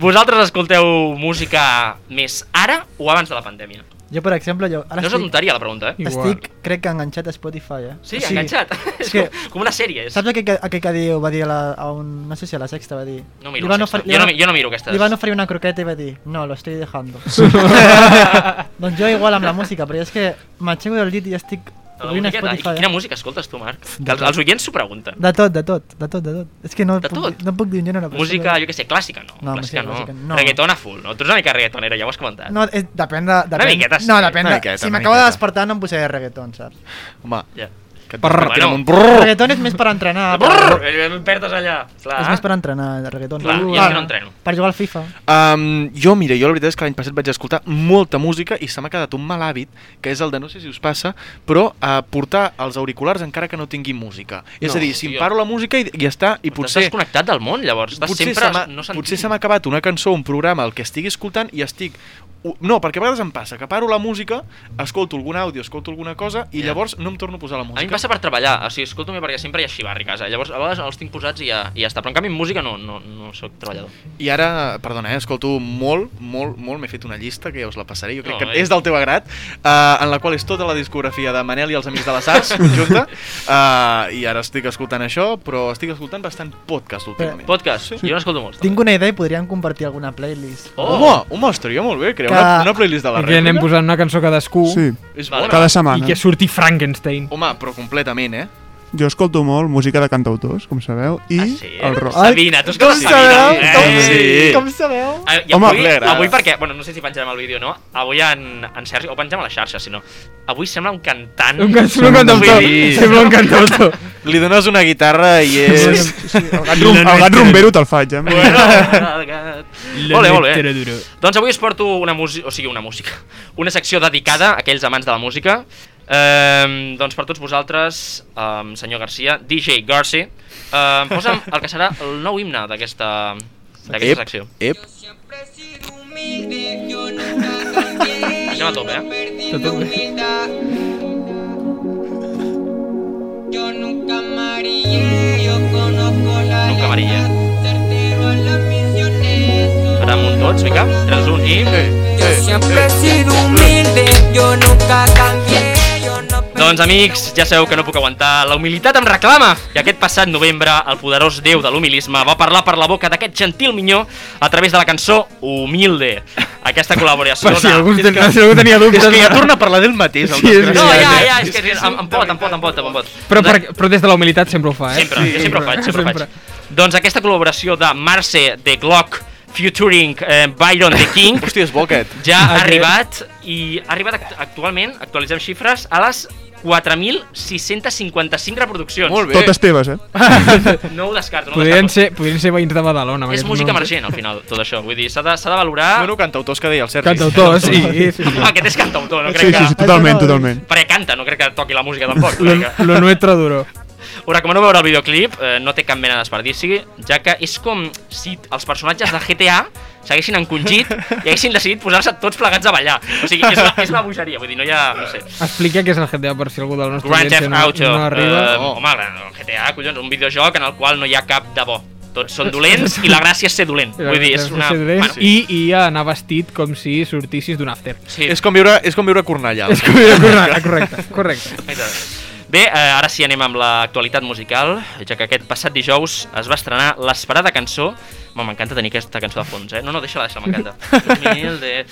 [SPEAKER 6] Vosaltres escolteu música més ara o abans de la pandèmia?
[SPEAKER 2] Jo, per exemple, jo... Ara
[SPEAKER 6] No és una tonteria, la pregunta, eh? Igual.
[SPEAKER 2] Estic, crec que enganxat a Spotify, eh?
[SPEAKER 6] Sí, enganxat. És
[SPEAKER 2] que-
[SPEAKER 6] com, com una sèrie. És...
[SPEAKER 2] Saps aquell, que- aquell que diu, va dir a, la, a un... No sé si a la sexta va dir...
[SPEAKER 6] No miro
[SPEAKER 2] Li van
[SPEAKER 6] la Sexta.
[SPEAKER 2] ofer- li
[SPEAKER 6] Jo no
[SPEAKER 2] van-
[SPEAKER 6] mi- jo no miro aquestes.
[SPEAKER 2] Li van oferir una croqueta i va dir, no, lo estoy
[SPEAKER 6] *laughs*
[SPEAKER 2] dejando. *laughs* doncs jo igual amb la música, però és que m'aixeco del llit i estic...
[SPEAKER 6] La
[SPEAKER 2] obrint
[SPEAKER 6] musiqueta. I
[SPEAKER 2] Spotify, eh?
[SPEAKER 6] quina música escoltes tu, Marc? Que els, els oients s'ho pregunten.
[SPEAKER 2] De tot, de tot, de tot, de tot. És que no,
[SPEAKER 6] De
[SPEAKER 2] puc,
[SPEAKER 6] tot?
[SPEAKER 2] no puc dir un gènere. però
[SPEAKER 6] Música,
[SPEAKER 2] sí
[SPEAKER 6] jo
[SPEAKER 2] que-
[SPEAKER 6] què sé, clàssica no.
[SPEAKER 2] No,
[SPEAKER 6] clàssica
[SPEAKER 2] música
[SPEAKER 6] no.
[SPEAKER 2] clàssica no.
[SPEAKER 6] Reggaeton a full, no? Tu ets una mica reggaetonera, ja ho has comentat.
[SPEAKER 2] No, és, depèn de... Depèn.
[SPEAKER 6] miqueta, sí.
[SPEAKER 2] No, depèn
[SPEAKER 6] Una
[SPEAKER 2] de...
[SPEAKER 6] miqueta,
[SPEAKER 2] si
[SPEAKER 6] una
[SPEAKER 2] m'acabo de
[SPEAKER 6] miqueta.
[SPEAKER 2] despertar no em posaré reggaeton, saps?
[SPEAKER 5] Home,
[SPEAKER 6] ja.
[SPEAKER 5] que et
[SPEAKER 2] Brrr.
[SPEAKER 5] despertin amb un
[SPEAKER 2] El
[SPEAKER 5] brrr.
[SPEAKER 2] reggaeton és més per entrenar.
[SPEAKER 6] Brrr! Em perdes allà. Clar.
[SPEAKER 2] Ah, És més per entrenar, el reggaeton.
[SPEAKER 6] Clar, jo és que no entreno.
[SPEAKER 2] Per jugar al FIFA.
[SPEAKER 5] Um, jo, mira, jo la veritat és que l'any passat vaig escoltar molta música i se m'ha quedat un mal hàbit, que és el de, no sé si us passa, però uh, portar els auriculars encara que no tingui música. No, és a dir, si em paro la música i, i està, i potser...
[SPEAKER 6] Estàs connectat del món, llavors. Estàs
[SPEAKER 5] potser
[SPEAKER 6] sempre...
[SPEAKER 5] se m'ha-
[SPEAKER 6] No
[SPEAKER 5] potser se m'ha acabat una cançó, un programa, el que estigui escoltant i estic ho- No, perquè a vegades em passa que paro la música, escolto algun àudio, escolto alguna cosa i llavors no em torno a posar la música.
[SPEAKER 6] A mi em passa per treballar, o sigui, escolto-me perquè sempre hi ha xivarri a casa, llavors a vegades els tinc posats i ja, i ja està, però en canvi en música no, no, no sóc treballador.
[SPEAKER 5] I ara, perdona, eh, escolto molt, molt, molt, m'he fet una llista que ja us la passaré, jo crec
[SPEAKER 6] No,
[SPEAKER 5] no, que
[SPEAKER 6] eh.
[SPEAKER 5] és del teu agrat, eh, en la qual és tota la discografia de Manel i els Amics de les Arts, conjunta, eh, i ara estic escoltant això, però estic escoltant bastant podcast últimament.
[SPEAKER 6] Podcast? Sí. Jo n'escolto molts.
[SPEAKER 2] Tinc una idea i podríem compartir alguna playlist.
[SPEAKER 5] Oh. Home, home, estaria molt bé crear
[SPEAKER 2] Que-
[SPEAKER 5] una, una playlist de la
[SPEAKER 1] Aquí anem
[SPEAKER 5] rèplica.
[SPEAKER 1] posant una cançó cadascú.
[SPEAKER 4] Sí.
[SPEAKER 5] És bona.
[SPEAKER 6] Ah,
[SPEAKER 5] Cada setmana.
[SPEAKER 1] Uh. I que surti Frankenstein.
[SPEAKER 5] Home, però completament, eh?
[SPEAKER 4] Jo escolto molt música de cantautors, com sabeu, i ah, sí? el rock.
[SPEAKER 6] eh? Sabina, tu escoltes Sabina.
[SPEAKER 5] Eh,
[SPEAKER 6] Eh,
[SPEAKER 4] Sí.
[SPEAKER 2] sabeu?
[SPEAKER 6] Ah, I
[SPEAKER 4] Home,
[SPEAKER 6] avui,
[SPEAKER 4] li agrada.
[SPEAKER 6] avui perquè, bueno, no sé si penjarem el vídeo o no, avui en, en Sergi, o pengem a la xarxa, si no, avui sembla un cantant.
[SPEAKER 1] Un can- sembla un cantautor, *laughs* sembla un cantautor.
[SPEAKER 5] Li dones una guitarra i és...
[SPEAKER 4] Sí, el gat, rum, el gat rumbero te'l faig, eh?
[SPEAKER 6] *laughs*
[SPEAKER 1] *laughs*
[SPEAKER 6] Bueno,
[SPEAKER 4] La
[SPEAKER 6] molt bé, molt
[SPEAKER 4] letra
[SPEAKER 6] bé.
[SPEAKER 4] dura.
[SPEAKER 6] Doncs avui us porto una música, o sigui, una música, *laughs* una secció dedicada a aquells amants de la música. Um, doncs per tots vosaltres, um, senyor Garcia, DJ Garci, um, posa'm el que serà el nou himne d'aquesta d'aquesta secció.
[SPEAKER 5] Ep,
[SPEAKER 6] Anem a tope, eh?
[SPEAKER 13] Yo nunca amarillé, yo conozco la
[SPEAKER 6] Nunca amarilla.
[SPEAKER 13] pero las misiones.
[SPEAKER 6] Ara amunt tots, vinga. 3, 1 i...
[SPEAKER 13] Yo siempre he sido humilde, yo nunca cambié.
[SPEAKER 6] Doncs amics, ja sabeu que no puc aguantar, la humilitat em reclama! I aquest passat novembre, el poderós déu de l'humilisme va parlar per la boca d'aquest gentil minyó a través de la cançó Humilde. Aquesta col·laboració...
[SPEAKER 1] Per si
[SPEAKER 6] de-
[SPEAKER 1] algú ten- si algú tenia dubtes.
[SPEAKER 6] És que ja
[SPEAKER 5] torna a parlar del mateix.
[SPEAKER 1] Sí, és
[SPEAKER 6] no,
[SPEAKER 1] veritat,
[SPEAKER 6] ja,
[SPEAKER 1] eh?
[SPEAKER 6] ja, és que em, em pot, em pot, em pot, em pot. Doncs,
[SPEAKER 1] Però, per, però des de la humilitat sempre ho fa, eh?
[SPEAKER 6] Sempre, jo sempre ho faig, sempre
[SPEAKER 1] *laughs*
[SPEAKER 6] ho faig. Doncs aquesta col·laboració de Marce de Glock featuring eh, Byron the
[SPEAKER 1] *laughs*
[SPEAKER 6] King
[SPEAKER 5] Hòstia, és bo aquest.
[SPEAKER 6] ja ha
[SPEAKER 5] Aquest.
[SPEAKER 6] arribat i ha arribat act- actualment, actualitzem xifres, a les 4.655 reproduccions.
[SPEAKER 4] Molt bé. Totes teves, eh?
[SPEAKER 6] No ho descarto, no ho
[SPEAKER 1] Podrien
[SPEAKER 6] descarto.
[SPEAKER 1] ser, podrien ser veïns de Badalona. amb
[SPEAKER 6] És
[SPEAKER 1] aquests
[SPEAKER 6] música
[SPEAKER 1] noms.
[SPEAKER 6] emergent, al final, tot això. Vull dir, s'ha de, s'ha de valorar...
[SPEAKER 5] Bueno, cantautors que deia el Sergi.
[SPEAKER 1] Ah. Cantautors, sí, sí, sí.
[SPEAKER 6] Home, *laughs* aquest és cantautor, no
[SPEAKER 1] Sí,
[SPEAKER 6] crec
[SPEAKER 1] sí,
[SPEAKER 6] que...
[SPEAKER 1] sí, totalment, totalment.
[SPEAKER 6] Perquè canta, no crec que toqui la música tampoc.
[SPEAKER 1] Lo,
[SPEAKER 6] vull dir que-
[SPEAKER 1] lo nuestro duro.
[SPEAKER 6] Us recomano veure el videoclip, eh, no té cap mena de desperdici, ja que és com si els personatges de GTA s'haguessin encongit i haguessin decidit posar-se tots plegats a ballar. O sigui, és una, és una bogeria, vull dir, no hi ha... No sé.
[SPEAKER 1] Explica què és el GTA per si algú del nostre
[SPEAKER 6] Grand Theft
[SPEAKER 1] audiència no,
[SPEAKER 6] Auto.
[SPEAKER 1] no arriba. Oh.
[SPEAKER 6] eh, home, el GTA, collons, un videojoc en el qual no hi ha cap de bo. Tots són dolents i la gràcia és ser dolent. Vull dir, és una... Bueno,
[SPEAKER 1] I, I anar vestit com si sortissis d'un
[SPEAKER 4] *laughs*
[SPEAKER 1] after.
[SPEAKER 6] Sí.
[SPEAKER 5] És com viure, és com viure a Cornellà. *laughs*
[SPEAKER 1] És com viure a Cornellà, correcte, correcte.
[SPEAKER 6] Bé, eh, ara sí anem amb l'actualitat musical, ja que aquest passat dijous es va estrenar l'esperada cançó Home, M'encanta tenir aquesta cançó de fons, eh? No, no, deixa-la, deixa-la, m'encanta. Humilde.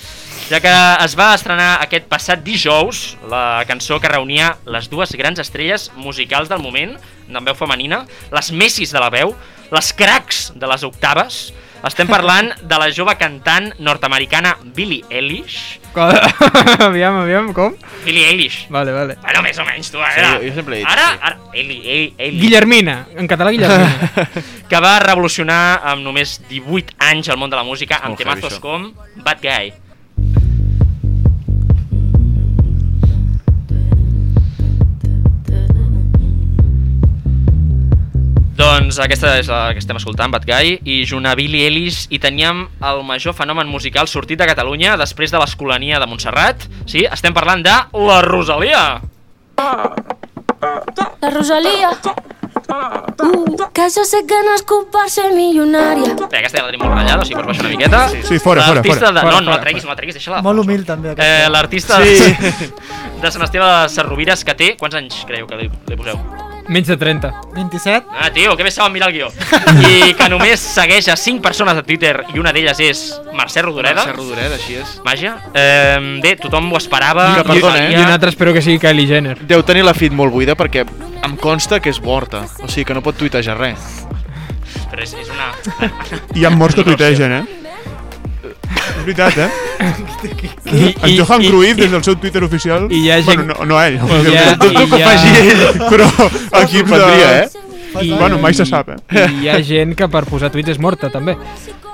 [SPEAKER 6] Ja que es va estrenar aquest passat dijous la cançó que reunia les dues grans estrelles musicals del moment, en veu femenina, les Messis de la veu, les cracs de les octaves, estem parlant de la jove cantant nord-americana Billie Eilish.
[SPEAKER 1] aviam, aviam, com? *laughs*
[SPEAKER 6] Billie Eilish.
[SPEAKER 1] Vale, vale.
[SPEAKER 6] Bueno, més o menys, tu, a
[SPEAKER 1] Sí,
[SPEAKER 6] veure.
[SPEAKER 1] jo- jo sempre he dit,
[SPEAKER 6] Ara,
[SPEAKER 1] sí.
[SPEAKER 6] ara, Eli, Eli, Eli.
[SPEAKER 1] Guillermina, en català
[SPEAKER 4] *laughs*
[SPEAKER 1] Guillermina.
[SPEAKER 6] que va revolucionar amb només 18 anys el món de la música amb
[SPEAKER 1] Molt Oh, heavy,
[SPEAKER 6] temazos
[SPEAKER 1] això.
[SPEAKER 6] com Bad Guy. Doncs aquesta és la que estem escoltant, Bad Guy, i junt a Billy Ellis hi teníem el major fenomen musical sortit de Catalunya després de l'escolania de Montserrat. Sí, estem parlant de la Rosalia.
[SPEAKER 14] La Rosalía. Mm, que jo sé que nascut per ser milionària.
[SPEAKER 6] Bé, aquesta ja la tenim molt ratllada, o sigui, pots baixar una miqueta.
[SPEAKER 4] Sí, fora, fora,
[SPEAKER 6] L'artista
[SPEAKER 4] fora.
[SPEAKER 6] de...
[SPEAKER 4] Fora,
[SPEAKER 6] No, no la
[SPEAKER 4] fora,
[SPEAKER 6] treguis, no la treguis, deixa-la.
[SPEAKER 2] Molt humil, també. aquest.
[SPEAKER 6] Ah. Eh, L'artista
[SPEAKER 2] Sí.
[SPEAKER 6] de Sant Esteve de Sarrovires que té... Quants anys creieu que li, li poseu?
[SPEAKER 1] Menys de 30.
[SPEAKER 2] 27.
[SPEAKER 6] Ah, tio, que bé saben mirar el guió. I que només segueix a 5 persones de Twitter i una d'elles és Mercè Rodoreda.
[SPEAKER 5] Mercè Rodoreda, així és.
[SPEAKER 6] Vaja. Eh, bé, tothom ho esperava.
[SPEAKER 4] Ah,
[SPEAKER 5] Mira, perdona, eh?
[SPEAKER 1] I un altre espero que sigui Kylie Jenner.
[SPEAKER 5] Deu tenir la feed molt buida perquè em consta que és morta, o sigui que no pot tuitejar res.
[SPEAKER 6] Però és, és una...
[SPEAKER 4] Hi ha morts que tuitegen, eh? És veritat, eh? I, en
[SPEAKER 1] i-
[SPEAKER 4] Johan
[SPEAKER 1] i-
[SPEAKER 4] Cruyff,
[SPEAKER 1] i-
[SPEAKER 4] des del seu Twitter oficial...
[SPEAKER 1] i hi ha gent-
[SPEAKER 4] Bueno, no, no ell.
[SPEAKER 1] Bueno, hi ha-
[SPEAKER 4] Dubto que
[SPEAKER 1] hi
[SPEAKER 4] ho
[SPEAKER 1] ha-
[SPEAKER 4] faci ell,
[SPEAKER 5] Ah.
[SPEAKER 4] però
[SPEAKER 5] *laughs*
[SPEAKER 1] Em
[SPEAKER 4] equip de...
[SPEAKER 1] sorprendria, eh?
[SPEAKER 4] I... Bueno, mai se sap, eh?
[SPEAKER 1] I hi ha gent que per posar tuits és morta, també.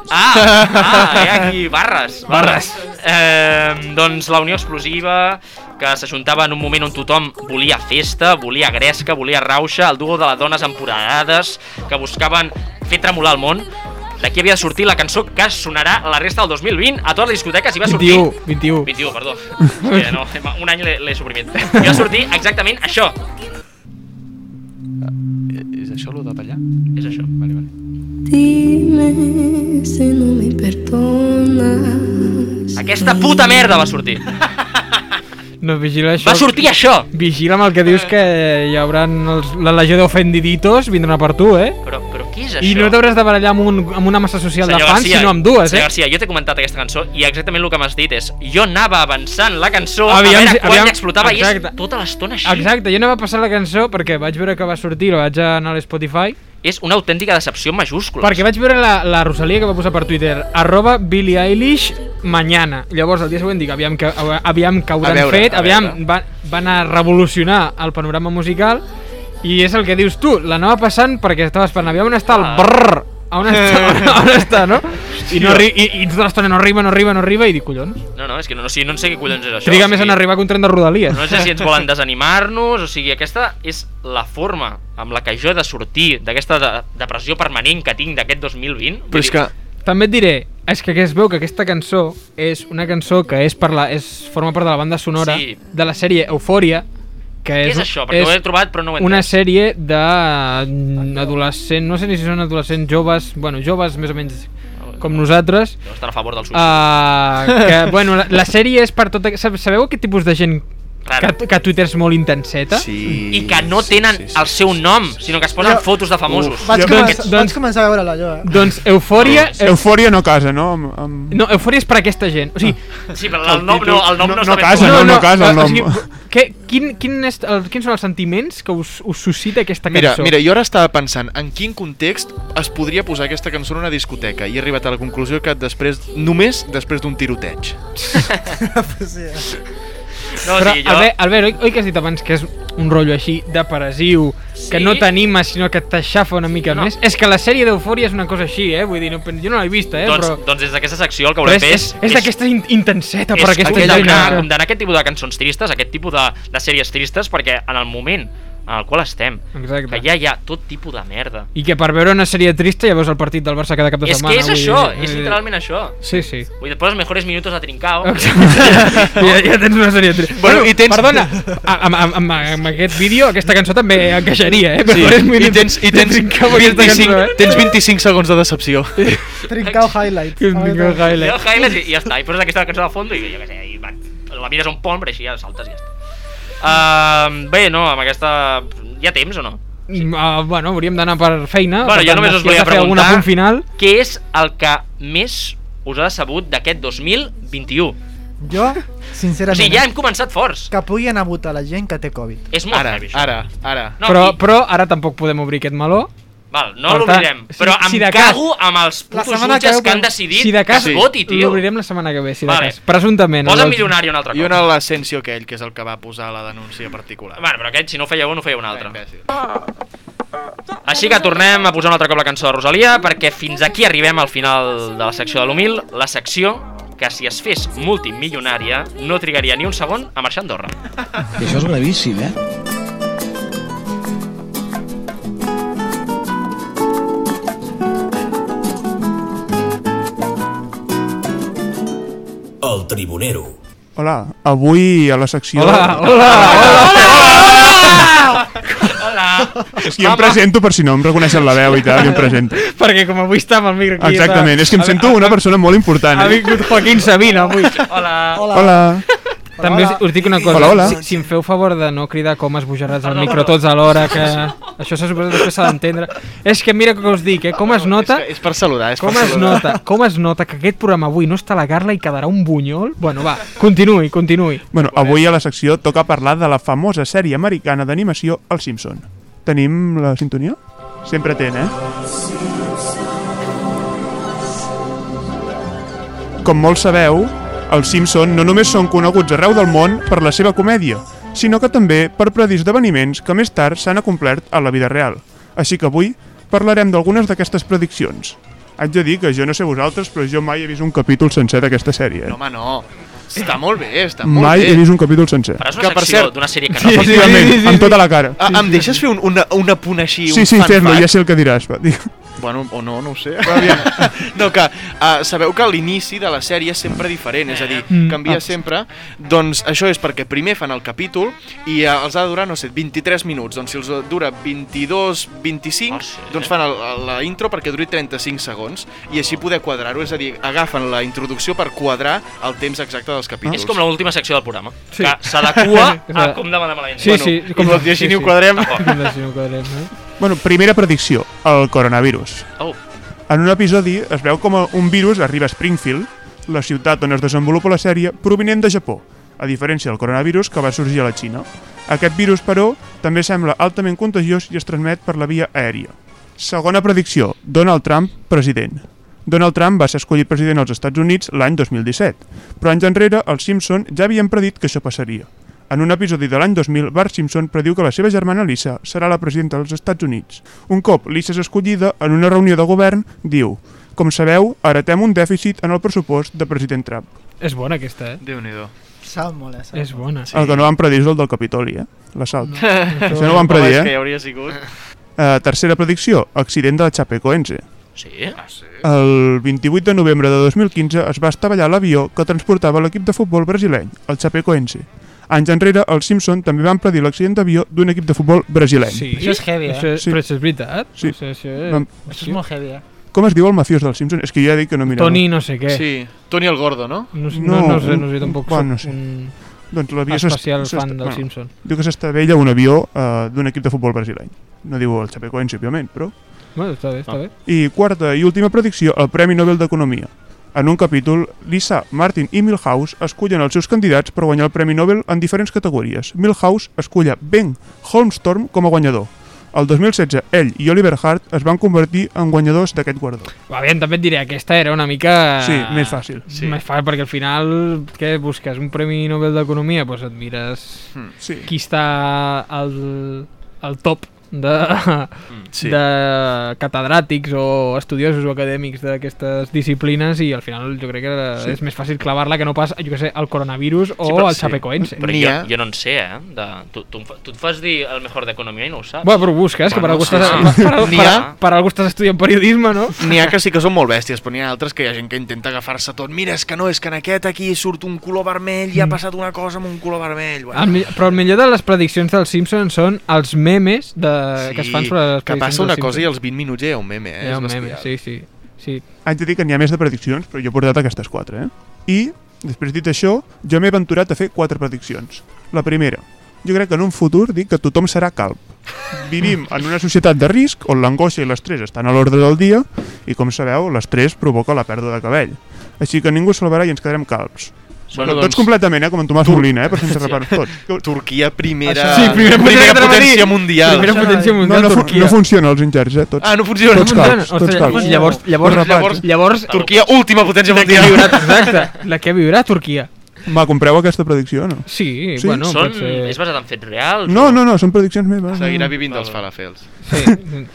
[SPEAKER 6] Ah, ah, hi ha aquí barres. Barres. Eh, doncs la Unió Explosiva, que s'ajuntava en un moment on tothom volia festa, volia gresca, volia rauxa, el duo de les dones empoderades, que buscaven fer tremolar el món. D'aquí havia de sortir la cançó que sonarà la resta del 2020 a totes les discoteques i va sortir...
[SPEAKER 1] 21, 21.
[SPEAKER 6] 21, perdó. Mira, no, un any l'he l'he suprimit. I va sortir exactament això.
[SPEAKER 5] És això, lo de tallar?
[SPEAKER 6] És això. Vale, vale.
[SPEAKER 14] Dime si no me perdonas.
[SPEAKER 6] Aquesta puta merda va sortir.
[SPEAKER 1] No, vigila això.
[SPEAKER 6] Va sortir això!
[SPEAKER 1] Vigila amb el que dius que hi haurà els, la legió d'ofendiditos vindran a per tu, eh?
[SPEAKER 6] Però, però què és
[SPEAKER 1] I
[SPEAKER 6] això?
[SPEAKER 1] no t'hauràs de barallar amb, un, amb una massa social de fans, sinó amb dues,
[SPEAKER 6] senyor
[SPEAKER 1] eh?
[SPEAKER 6] Garcia, jo t'he comentat aquesta cançó i exactament el que m'has dit és jo anava avançant la cançó
[SPEAKER 1] Aviam
[SPEAKER 6] a
[SPEAKER 1] si-
[SPEAKER 6] veure quan
[SPEAKER 1] aviam-
[SPEAKER 6] explotava i
[SPEAKER 1] exacte.
[SPEAKER 6] és tota l'estona així.
[SPEAKER 1] Exacte, jo anava passant la cançó perquè vaig veure que va sortir, la vaig anar a l'Spotify,
[SPEAKER 6] És una autèntica decepció en majúscules.
[SPEAKER 1] perquè vaig veure la, la Rosalia que va posar per Twitter, arroba Billie Eilish mañana. Llavors, el dia següent dic, aviam que, aviam que hauran
[SPEAKER 6] A veure,
[SPEAKER 1] fet,
[SPEAKER 6] a
[SPEAKER 1] aviam,
[SPEAKER 6] veure.
[SPEAKER 1] va, van a revolucionar el panorama musical, i és el que dius tu, l'anava passant perquè estava esperant, aviam on està el
[SPEAKER 6] Ah.
[SPEAKER 1] brrr, on està,
[SPEAKER 6] *laughs*
[SPEAKER 1] on, està, no? I, no arri i, i tota l'estona no arriba, no arriba, no arriba, i dic, collons.
[SPEAKER 6] No, no, és que no, no, o sigui, no en sé què collons és això.
[SPEAKER 1] Triga
[SPEAKER 6] o
[SPEAKER 1] més
[SPEAKER 6] sigui,
[SPEAKER 1] en arribar que un tren de Rodalies.
[SPEAKER 6] No sé si ens
[SPEAKER 1] *laughs*
[SPEAKER 6] volen desanimar-nos, o sigui, aquesta és la forma amb la que jo he de sortir d'aquesta de depressió permanent que tinc d'aquest 2020. Vull dir,
[SPEAKER 1] També et diré, és que es veu que aquesta cançó és una cançó que és per la, és, forma part de la banda sonora
[SPEAKER 6] Sí.
[SPEAKER 1] de la sèrie Eufòria, que
[SPEAKER 6] Què
[SPEAKER 1] és,
[SPEAKER 6] és això? Perquè ho he trobat, però no ho he
[SPEAKER 1] Una
[SPEAKER 6] entès.
[SPEAKER 1] sèrie de mm, adolescents, no sé ni si són adolescents joves, bueno, joves més o menys com nosaltres.
[SPEAKER 6] Deu estar a favor del suïcidi.
[SPEAKER 1] Uh, que,
[SPEAKER 6] *laughs*
[SPEAKER 1] bueno, la, la sèrie és per tota... sab- Sabeu aquest tipus de gent que,
[SPEAKER 6] Rara.
[SPEAKER 1] que a Twitter és molt intenseta?
[SPEAKER 5] Sí.
[SPEAKER 6] I que no tenen el seu nom, sinó que es posen
[SPEAKER 1] Jo-
[SPEAKER 6] fotos de famosos.
[SPEAKER 1] Uf.
[SPEAKER 2] Vaig,
[SPEAKER 1] Jo-
[SPEAKER 2] començar,
[SPEAKER 1] doncs-
[SPEAKER 2] vaig començar a veure-la jo,
[SPEAKER 6] *laughs*
[SPEAKER 2] eh?
[SPEAKER 1] Doncs Eufòria...
[SPEAKER 4] Eufòria no casa, no? Amb, amb...
[SPEAKER 1] No, Eufòria és per aquesta gent. O sigui,
[SPEAKER 6] Sí, però el nom no, el nom no,
[SPEAKER 4] no
[SPEAKER 6] està ben
[SPEAKER 4] casa,
[SPEAKER 6] trobat.
[SPEAKER 4] no, no casa el
[SPEAKER 1] o
[SPEAKER 4] nom.
[SPEAKER 1] sigui, què, quin, quin és, el, quins són els sentiments que us, us suscita aquesta
[SPEAKER 5] Mira,
[SPEAKER 1] cançó?
[SPEAKER 5] mira, jo ara estava pensant en quin context es podria posar aquesta cançó en una discoteca i he arribat a la conclusió que després només després d'un tiroteig.
[SPEAKER 6] No,
[SPEAKER 1] Però,
[SPEAKER 6] o sigui, jo-
[SPEAKER 1] Albert, Albert oi, oi que has dit abans que és un rotllo així depressiu, sí. que no t'anima, sinó que t'aixafa una mica
[SPEAKER 6] No.
[SPEAKER 1] no. més? És que la sèrie d'Eufòria és una cosa així, eh? Vull dir, no, pen- jo no l'he vista, eh?
[SPEAKER 6] Doncs,
[SPEAKER 1] però,
[SPEAKER 6] doncs des d'aquesta secció el que
[SPEAKER 1] però
[SPEAKER 6] volem
[SPEAKER 1] és,
[SPEAKER 6] fer
[SPEAKER 1] és, és d'aquesta in intenseta per aquesta
[SPEAKER 6] és
[SPEAKER 1] gent.
[SPEAKER 6] condemnar,
[SPEAKER 1] no?
[SPEAKER 6] condemnar aquest tipus de cançons tristes, aquest tipus de, de sèries tristes, perquè en el moment en el qual estem,
[SPEAKER 1] Exacte.
[SPEAKER 6] que ja hi ha tot tipus de merda.
[SPEAKER 1] I que per veure una sèrie trista ja veus el partit del Barça cada cap de
[SPEAKER 6] és
[SPEAKER 1] setmana.
[SPEAKER 6] que és
[SPEAKER 1] Tota vull
[SPEAKER 6] això,
[SPEAKER 1] dir,
[SPEAKER 6] és
[SPEAKER 1] eh,
[SPEAKER 6] literalment això.
[SPEAKER 1] Sí, sí.
[SPEAKER 6] Vull dir, et poses mejores minutos a Trincao.
[SPEAKER 1] ja, ja tens una sèrie de...
[SPEAKER 6] Bueno,
[SPEAKER 1] Bueno,
[SPEAKER 6] i
[SPEAKER 1] i
[SPEAKER 6] tens-
[SPEAKER 1] Perdona, a- amb, amb, amb, amb aquest vídeo aquesta cançó també encaixaria, eh?
[SPEAKER 5] Sí.
[SPEAKER 1] Mejores
[SPEAKER 5] I
[SPEAKER 1] minutos
[SPEAKER 5] tens, i
[SPEAKER 1] de
[SPEAKER 5] tens,
[SPEAKER 1] Trincao amb aquesta
[SPEAKER 5] 25,
[SPEAKER 1] cançó, eh?
[SPEAKER 5] tens 25 segons de decepció.
[SPEAKER 2] Trincao Highlight.
[SPEAKER 1] Trincao
[SPEAKER 6] I el highlight i, i ja està, i poses aquesta cançó de fondo i jo què sé, i va, la mires a un pont, però així ja saltes i ja està. Uh, bé, no, amb aquesta... Hi ha temps o no?
[SPEAKER 1] Uh, bueno, hauríem d'anar per feina.
[SPEAKER 6] Bueno,
[SPEAKER 1] Ah, per
[SPEAKER 6] jo
[SPEAKER 1] tant,
[SPEAKER 6] només
[SPEAKER 1] si
[SPEAKER 6] us
[SPEAKER 1] has de
[SPEAKER 6] volia
[SPEAKER 1] fer algun
[SPEAKER 6] preguntar
[SPEAKER 1] apunt final.
[SPEAKER 6] què és el que més us ha decebut d'aquest 2021.
[SPEAKER 2] Jo,
[SPEAKER 6] O
[SPEAKER 2] sincerament...
[SPEAKER 6] sigui, ja hem començat forts.
[SPEAKER 2] Que pugui anar a votar la gent que té Covid.
[SPEAKER 6] És molt
[SPEAKER 5] Ara,
[SPEAKER 6] heavy, això.
[SPEAKER 5] ara, ara.
[SPEAKER 6] No,
[SPEAKER 1] però,
[SPEAKER 6] i-
[SPEAKER 1] però ara tampoc podem obrir aquest meló.
[SPEAKER 6] Val, no
[SPEAKER 1] Per
[SPEAKER 6] l'obrirem,
[SPEAKER 1] tant,
[SPEAKER 6] però
[SPEAKER 1] si- si
[SPEAKER 6] em
[SPEAKER 1] de cas-
[SPEAKER 6] cago amb els
[SPEAKER 2] La
[SPEAKER 6] putos
[SPEAKER 2] setmana que
[SPEAKER 6] jutges
[SPEAKER 2] veu
[SPEAKER 6] que han
[SPEAKER 2] que-
[SPEAKER 6] decidit
[SPEAKER 1] si de cas,
[SPEAKER 6] que es voti, tio.
[SPEAKER 1] l'obrirem la setmana que ve, si de
[SPEAKER 6] Vale.
[SPEAKER 1] cas. Presumptament.
[SPEAKER 6] Posa
[SPEAKER 1] el-
[SPEAKER 6] milionari un altre cop.
[SPEAKER 5] I una l'ascensió aquell, que és el que va posar la denúncia particular.
[SPEAKER 6] Bueno, però aquest, si no ho feia un, ho feia un altre. Així que tornem a posar un altre cop la cançó de Rosalia, perquè fins aquí arribem al final de la secció de l'Humil, la secció que si es fes multimilionària no trigaria ni un segon a marxar a Andorra.
[SPEAKER 3] I això és gravíssim, eh?
[SPEAKER 15] El Tribunero.
[SPEAKER 4] Hola, avui a la secció...
[SPEAKER 15] Hola, hola,
[SPEAKER 6] Hola!
[SPEAKER 4] És que jo em presento per si no em reconeixen la veu i tal, jo em presento.
[SPEAKER 1] *laughs* Perquè com avui està amb el micro aquí...
[SPEAKER 4] Exactament, és que em sento una persona molt important.
[SPEAKER 1] Ha
[SPEAKER 4] Eh?
[SPEAKER 1] vingut Joaquín Sabina avui.
[SPEAKER 6] Hola.
[SPEAKER 4] Hola. Hola.
[SPEAKER 1] També us, us dic una cosa,
[SPEAKER 4] Hola, hola.
[SPEAKER 1] Si, si em feu favor de no cridar com es bojaràs al
[SPEAKER 6] Perdó,
[SPEAKER 1] micro
[SPEAKER 6] perdó.
[SPEAKER 1] tots alhora,
[SPEAKER 2] *laughs*
[SPEAKER 1] que això se suposa que després s'ha d'entendre. És que mira que us dic, eh? com es nota...
[SPEAKER 5] És per saludar, és
[SPEAKER 1] Com
[SPEAKER 5] per
[SPEAKER 1] es
[SPEAKER 5] saludar.
[SPEAKER 1] nota, com es nota que aquest programa avui no està la Carla i quedarà un bunyol? Bueno, va, continuï, continuï.
[SPEAKER 4] Bueno, avui a la secció toca parlar de la famosa sèrie americana d'animació El Simpson. Tenim la sintonia? Sempre ten, eh? Com molts sabeu, els Simpson no només són coneguts arreu del món per la seva comèdia, sinó que també per predir esdeveniments que més tard s'han acomplert a la vida real. Així que avui parlarem d'algunes d'aquestes prediccions. Haig de dir que jo no sé vosaltres, però jo mai he vist un capítol sencer d'aquesta sèrie. eh?
[SPEAKER 5] No, home, no. Està molt bé, està molt
[SPEAKER 4] Mai
[SPEAKER 5] bé.
[SPEAKER 4] he vist un capítol sencer.
[SPEAKER 6] Faràs una secció d'una sèrie que no
[SPEAKER 4] Sí, sí, sí, sí, amb tota la cara.
[SPEAKER 5] Ah, em deixes fer un, una, una punt així,
[SPEAKER 4] Sí,
[SPEAKER 5] un
[SPEAKER 4] sí,
[SPEAKER 5] fan
[SPEAKER 4] fes-lo,
[SPEAKER 5] fact?
[SPEAKER 4] ja sé el que diràs. Va. digue.
[SPEAKER 5] Bueno, o no, no ho sé. *laughs* no, que uh, sabeu que l'inici de la sèrie és sempre diferent, és a dir,
[SPEAKER 15] Mm.
[SPEAKER 5] canvia
[SPEAKER 15] Ah.
[SPEAKER 5] sempre. Doncs això és perquè primer fan el capítol i uh, els ha de durar, no sé, 23 minuts. Doncs si els dura 22, 25, doncs fan el, el, la intro perquè duri 35 segons i així poder quadrar-ho, és a dir, agafen la introducció per quadrar el temps exacte dels capítols.
[SPEAKER 6] És com l'última secció del programa,
[SPEAKER 5] Sí.
[SPEAKER 6] sí. que s'adequa a com demanem a la gent.
[SPEAKER 5] Sí, sí, com
[SPEAKER 6] i
[SPEAKER 5] el dia així ni ho
[SPEAKER 1] *laughs*
[SPEAKER 5] quadrem.
[SPEAKER 1] Com si no quadrem, eh?
[SPEAKER 4] Bueno, primera predicció, el coronavirus.
[SPEAKER 6] Oh.
[SPEAKER 4] En un episodi es veu com un virus arriba a Springfield, la ciutat on es desenvolupa la sèrie, provinent de Japó, a diferència del coronavirus que va sorgir a la Xina. Aquest virus, però, també sembla altament contagiós i es transmet per la via aèria. Segona predicció, Donald Trump, president. Donald Trump va ser escollit president als Estats Units l'any 2017, però anys enrere els Simpson ja havien predit que això passaria. En un episodi de l'any 2000, Bart Simpson prediu que la seva germana Lisa serà la presidenta dels Estats Units. Un cop Lisa és escollida, en una reunió de govern, diu «Com sabeu, heretem un dèficit en el pressupost de president Trump».
[SPEAKER 1] És bona aquesta, eh?
[SPEAKER 5] Déu-n'hi-do.
[SPEAKER 2] Sap molt, eh?
[SPEAKER 1] És bona.
[SPEAKER 4] Sí. El que no van predir és el del Capitoli, eh? L'assalt.
[SPEAKER 1] No.
[SPEAKER 4] *laughs* Això no ho van
[SPEAKER 5] Home,
[SPEAKER 4] predir,
[SPEAKER 5] és
[SPEAKER 4] eh?
[SPEAKER 5] que hi hauria sigut.
[SPEAKER 4] Eh, tercera predicció, accident de la Chapecoense.
[SPEAKER 6] Sí? Ah, sí.
[SPEAKER 4] El 28 de novembre de 2015 es va estavellar l'avió que transportava l'equip de futbol brasileny, el Chapecoense. Anys enrere, els Simpson també van predir l'accident d'avió d'un equip de futbol brasileny.
[SPEAKER 1] Sí.
[SPEAKER 2] Això és heavy, eh?
[SPEAKER 1] Això,
[SPEAKER 4] Sí.
[SPEAKER 1] Però això és veritat?
[SPEAKER 4] Sí.
[SPEAKER 1] O sigui, això, és...
[SPEAKER 4] Vam-
[SPEAKER 2] Això és molt heavy, eh?
[SPEAKER 4] Com es diu el mafiós dels Simpson? És que jo ja dic que no mirava.
[SPEAKER 1] Tony no sé què.
[SPEAKER 5] Sí, Tony el Gordo, no?
[SPEAKER 1] No, sé- no, no sé, no sé, tampoc
[SPEAKER 4] Bueno,
[SPEAKER 1] soc
[SPEAKER 4] no sé.
[SPEAKER 1] un
[SPEAKER 4] Doncs l'avió s'est-
[SPEAKER 1] especial
[SPEAKER 4] s'est-
[SPEAKER 1] fan del Simpson.
[SPEAKER 4] Diu que s'estavella un avió eh, d'un equip de futbol brasileny. No diu el Chapecoense, òbviament, però...
[SPEAKER 1] Bueno, està
[SPEAKER 6] Ah.
[SPEAKER 1] bé, està bé.
[SPEAKER 4] I quarta i última predicció, el Premi Nobel d'Economia. En un capítol, Lisa, Martin i Milhouse escullen els seus candidats per guanyar el Premi Nobel en diferents categories. Milhouse esculla Ben Holmstorm com a guanyador. El 2016, ell i Oliver Hart es van convertir en guanyadors d'aquest guardó.
[SPEAKER 1] Aviam, també et diré, aquesta era una mica...
[SPEAKER 4] Sí, més fàcil.
[SPEAKER 1] Sí. Més fàcil, perquè al final, què busques? Un Premi Nobel d'Economia? Doncs et mires
[SPEAKER 4] sí.
[SPEAKER 1] qui està al, al top de,
[SPEAKER 5] sí.
[SPEAKER 1] de catedràtics o estudiosos o acadèmics d'aquestes disciplines i al final jo crec que
[SPEAKER 6] Sí.
[SPEAKER 1] sí. és més fàcil clavar-la que no pas, jo què sé, al coronavirus o
[SPEAKER 6] Sí, però
[SPEAKER 1] al
[SPEAKER 6] sí.
[SPEAKER 1] chapecoense.
[SPEAKER 6] Però jo, jo no en sé, eh? De, tu, tu, em fa- tu et fas dir el mejor d'economia i no ho saps.
[SPEAKER 1] Bueno, però ho busques, que per algú,
[SPEAKER 6] sí,
[SPEAKER 1] estàs,
[SPEAKER 6] sí.
[SPEAKER 1] per, per,
[SPEAKER 6] N'hi
[SPEAKER 1] per,
[SPEAKER 6] ha.
[SPEAKER 1] per algú estàs estudiant periodisme, no?
[SPEAKER 5] N'hi ha que sí que són molt bèsties, però n'hi ha altres que hi ha gent que intenta agafar-se tot. Mira, és que no, és que en aquest aquí surt un color vermell i ha passat una cosa amb un color vermell. Bueno.
[SPEAKER 1] El, mi- però el millor de les prediccions dels Simpsons són els memes de, sí, Ah, eh, que es fan sobre les
[SPEAKER 5] que
[SPEAKER 1] prediccions
[SPEAKER 5] passa una
[SPEAKER 1] dels
[SPEAKER 5] cosa i
[SPEAKER 1] Simpsons.
[SPEAKER 5] als 20 minuts ja hi ha un meme, eh?
[SPEAKER 1] Hi ha
[SPEAKER 5] És
[SPEAKER 1] un meme,
[SPEAKER 5] bestial.
[SPEAKER 1] sí,
[SPEAKER 5] Eh,
[SPEAKER 1] sí. sí.
[SPEAKER 4] Haig de dir que n'hi ha més de prediccions, però jo he portat aquestes quatre, eh? I, després dit això, jo m'he aventurat a fer quatre prediccions. La primera, jo crec que en un futur dic que tothom serà calb. Vivim en una societat de risc on l'angoixa i l'estrès estan a l'ordre del dia i, com sabeu, l'estrès provoca la pèrdua de cabell. Així que ningú es salvarà i ens quedarem calbs.
[SPEAKER 5] Bueno,
[SPEAKER 4] Bueno, tots
[SPEAKER 5] doncs-
[SPEAKER 4] completament, eh? Com en Tomàs
[SPEAKER 5] Tur-
[SPEAKER 4] Molina, eh? Per sense reparar tots.
[SPEAKER 5] Turquia, primera,
[SPEAKER 4] Això- Sí, primera potència que
[SPEAKER 5] primera
[SPEAKER 4] anava a dir.
[SPEAKER 5] potència mundial.
[SPEAKER 4] Primera potència
[SPEAKER 1] mundial,
[SPEAKER 4] No, no, fu-
[SPEAKER 1] Turquia.
[SPEAKER 4] no funciona els ingerts, eh? Tots,
[SPEAKER 5] Ah, no funciona.
[SPEAKER 4] Tots calbs,
[SPEAKER 1] Ostres,
[SPEAKER 4] tots calbs.
[SPEAKER 1] Llavors, llavors,
[SPEAKER 4] Tots rapats, eh?
[SPEAKER 1] llavors, llavors,
[SPEAKER 5] Turquia, última potència
[SPEAKER 1] la que
[SPEAKER 5] mundial.
[SPEAKER 1] viurà, exacte, la que viurà Turquia.
[SPEAKER 4] Va, compreu aquesta predicció, no?
[SPEAKER 1] Sí,
[SPEAKER 4] Sí?
[SPEAKER 1] bueno,
[SPEAKER 6] Són,
[SPEAKER 1] pot ser...
[SPEAKER 6] És basat en fets reals?
[SPEAKER 4] No, no, no, són prediccions meves.
[SPEAKER 5] Seguirà
[SPEAKER 4] no, no.
[SPEAKER 5] vivint dels falafels. *laughs*
[SPEAKER 1] Sí.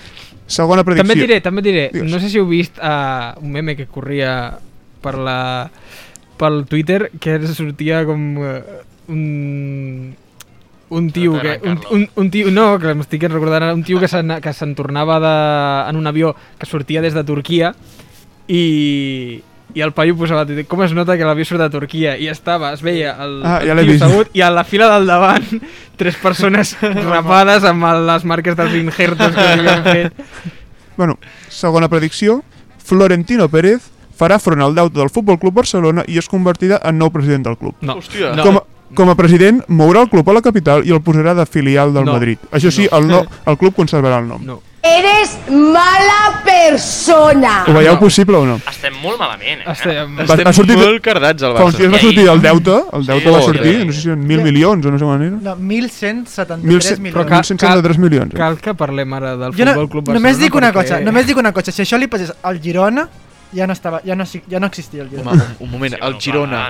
[SPEAKER 4] Segona predicció.
[SPEAKER 1] També et diré, també et diré, no sé si heu vist uh, un meme que corria per la pel Twitter que ens sortia com uh, un un tio que un, un, un tio, no, que m'estic recordant ara, un tio que se'n que se'n tornava de, en un avió que sortia des de Turquia i i el paio posava a Twitter, com es nota que l'avió surt de Turquia i estava, es veia el,
[SPEAKER 4] Ah, ja
[SPEAKER 1] el
[SPEAKER 4] l'he
[SPEAKER 1] tio
[SPEAKER 4] vist.
[SPEAKER 1] assegut i a la fila del davant *laughs* tres persones rapades amb les marques dels injertos que li havien fet
[SPEAKER 4] Bueno, segona predicció. Florentino Pérez farà front al deute del Futbol Club Barcelona i es convertirà en nou president del club.
[SPEAKER 1] No.
[SPEAKER 5] Hòstia.
[SPEAKER 1] No.
[SPEAKER 4] Com a, com a president, mourà el club a la capital i el posarà de filial del
[SPEAKER 1] No.
[SPEAKER 4] Madrid. Això sí, el, no, el club conservarà el nom.
[SPEAKER 1] No.
[SPEAKER 16] Eres mala persona.
[SPEAKER 4] Ho veieu possible o no?
[SPEAKER 6] Estem molt malament, eh?
[SPEAKER 1] Estem,
[SPEAKER 4] Va- ha sortit- Fa uns dies va sortir el deute, el deute
[SPEAKER 6] Sí,
[SPEAKER 4] va
[SPEAKER 6] sí,
[SPEAKER 4] sortir,
[SPEAKER 6] sí.
[SPEAKER 4] no sé si en mil milions o no sé quan era.
[SPEAKER 2] No, 1.173
[SPEAKER 4] Mil cent-
[SPEAKER 2] milions.
[SPEAKER 4] però ca- 1.173 milions, eh?
[SPEAKER 1] Cal que parlem ara del
[SPEAKER 2] Jo
[SPEAKER 1] Futbol
[SPEAKER 2] no,
[SPEAKER 1] Club Barcelona.
[SPEAKER 2] només dic una
[SPEAKER 1] perquè-
[SPEAKER 2] cosa, només dic una cosa. Si això li passés al Girona, ja no, estava, ja no, si- ja no existia el Girona.
[SPEAKER 5] Home, un, un moment, el Girona.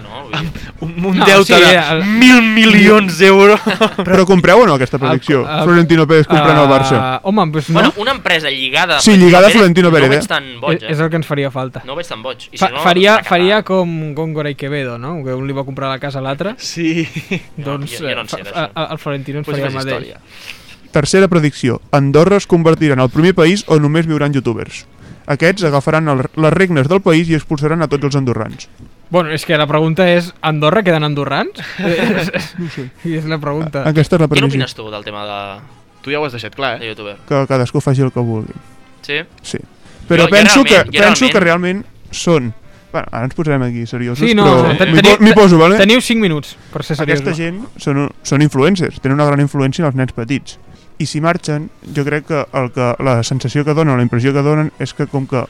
[SPEAKER 5] Un, un
[SPEAKER 2] No, sí,
[SPEAKER 5] deute de
[SPEAKER 2] el-
[SPEAKER 5] mil milions d'euros.
[SPEAKER 4] Però compreu o no aquesta predicció?
[SPEAKER 5] el-
[SPEAKER 4] Florentino Pérez comprant el Barça.
[SPEAKER 1] Uh, home, doncs no.
[SPEAKER 6] Bueno, una empresa lligada... a
[SPEAKER 4] Sí, lligada a Florentino
[SPEAKER 6] Pérez.
[SPEAKER 4] Pérez,
[SPEAKER 6] No ho veig tan boig,
[SPEAKER 1] Eh, És, és el que ens faria falta.
[SPEAKER 6] No ho veig tan boig. I si
[SPEAKER 1] Fa,
[SPEAKER 6] no,
[SPEAKER 1] faria,
[SPEAKER 6] s'ha
[SPEAKER 1] faria com Góngora i Quevedo, no? Que un li va comprar la casa a l'altre.
[SPEAKER 5] Sí.
[SPEAKER 1] Doncs
[SPEAKER 6] jo- jo no en sé,
[SPEAKER 1] eh, fa-
[SPEAKER 6] d'això.
[SPEAKER 1] a- el Florentino ens
[SPEAKER 6] Pues
[SPEAKER 1] faria
[SPEAKER 6] fes
[SPEAKER 1] el mateix.
[SPEAKER 6] història.
[SPEAKER 4] Tercera predicció. Andorra es convertirà en el primer país on només viuran youtubers. Aquests agafaran el, les regnes del país i expulsaran a tots els andorrans.
[SPEAKER 1] Bueno, és que la pregunta és, a Andorra queden
[SPEAKER 4] *laughs*
[SPEAKER 1] andorrans? *laughs* és, I és la pregunta.
[SPEAKER 4] A- aquesta és la Què previsió.
[SPEAKER 6] Quines tu del tema de...
[SPEAKER 5] Tu ja ho has deixat clar, eh?
[SPEAKER 6] De youtuber.
[SPEAKER 4] Que cadascú faci el que vulgui.
[SPEAKER 6] Sí?
[SPEAKER 4] Sí. Però
[SPEAKER 6] Jo- jo
[SPEAKER 4] jo, penso,
[SPEAKER 6] realment-
[SPEAKER 4] que,
[SPEAKER 6] jo
[SPEAKER 4] penso
[SPEAKER 6] realment-
[SPEAKER 4] que realment són... Bueno, ara ens posarem aquí seriosos,
[SPEAKER 1] Sí, no,
[SPEAKER 4] però
[SPEAKER 1] ten-
[SPEAKER 4] m'hi
[SPEAKER 1] teniu-
[SPEAKER 4] po- m'hi poso, vale?
[SPEAKER 1] Teniu 5 minuts per ser seriosos.
[SPEAKER 4] Aquesta gent són, un- són influencers, tenen una gran influència en els nens petits. I si marxen, jo crec que, el que la sensació que donen, la impressió que donen, és que com que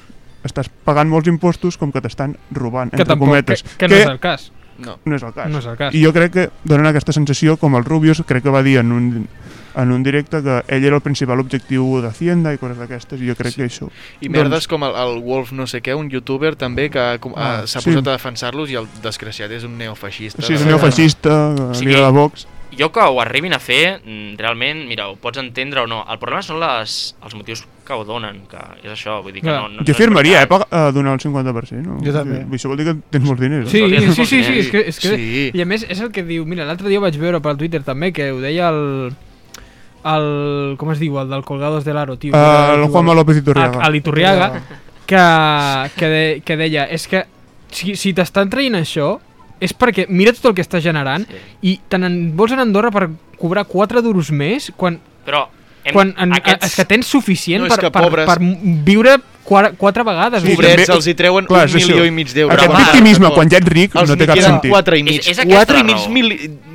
[SPEAKER 4] estàs pagant molts impostos, com que t'estan robant,
[SPEAKER 1] Que
[SPEAKER 4] entre
[SPEAKER 1] tampoc-
[SPEAKER 4] cometes.
[SPEAKER 1] que- que no és el cas.
[SPEAKER 5] No.
[SPEAKER 4] No és el cas.
[SPEAKER 1] No és el cas.
[SPEAKER 4] I jo crec que donen aquesta sensació, com el Rubius, crec que va dir en un, en un directe que ell era el principal objectiu d'Hacienda i coses d'aquestes, i jo crec sí. que això...
[SPEAKER 5] I merdes com el, el Wolf no sé què, un youtuber també que ha com-
[SPEAKER 4] Doncs- Ah,
[SPEAKER 5] ha- s'ha
[SPEAKER 4] sí.
[SPEAKER 5] posat a defensar-los i el desgraciat és un neofeixista.
[SPEAKER 4] Doncs, Sí, és un neofeixista,
[SPEAKER 6] O
[SPEAKER 4] sí.
[SPEAKER 6] sigui,
[SPEAKER 4] de Vox...
[SPEAKER 6] Jo que ho arribin a fer, mm, realment, mira, ho pots entendre o no. El problema són les, els motius que ho donen, que és això, vull dir que no... no
[SPEAKER 4] jo firmaria, eh, pa- a donar el 50%. No?
[SPEAKER 10] Jo també.
[SPEAKER 4] Vull dir, Això vol dir que tens molts diners.
[SPEAKER 1] Sí,
[SPEAKER 4] eh?
[SPEAKER 1] sí, sí, sí, sí, és que, és que sí. i a més és el que diu, mira, l'altre dia ho vaig veure pel Twitter també, que ho deia el el, com es diu, el del Colgados de l'Aro, tio.
[SPEAKER 4] Eh,
[SPEAKER 1] que era
[SPEAKER 4] el Juanma López Iturriaga.
[SPEAKER 1] Ah, l'Iturriaga, que, que, de, que deia, és que si, si t'estan traient això, és perquè mira tot el que està generant sí. i te n'en vols anar a Andorra per cobrar 4 duros més quan,
[SPEAKER 6] Però hem-
[SPEAKER 1] quan en,
[SPEAKER 6] aquests-
[SPEAKER 1] aquests... és que tens suficient
[SPEAKER 6] No, és
[SPEAKER 1] per,
[SPEAKER 6] que
[SPEAKER 1] per,
[SPEAKER 6] pobres-
[SPEAKER 1] per viure 4, 4 vegades. vull dir.
[SPEAKER 5] Pobrets, els hi treuen
[SPEAKER 4] Clar,
[SPEAKER 5] un
[SPEAKER 4] és això.
[SPEAKER 5] milió i mig d'euros.
[SPEAKER 4] Aquest
[SPEAKER 5] Home,
[SPEAKER 4] victimisme,
[SPEAKER 5] tampoc.
[SPEAKER 4] quan ja ets ric,
[SPEAKER 5] Els
[SPEAKER 4] no té
[SPEAKER 5] ni
[SPEAKER 4] cap
[SPEAKER 5] queden
[SPEAKER 4] sentit.
[SPEAKER 5] Quatre i mig,
[SPEAKER 6] És- és aquesta
[SPEAKER 5] quatre i
[SPEAKER 6] la
[SPEAKER 5] mig
[SPEAKER 6] raó.
[SPEAKER 5] mil,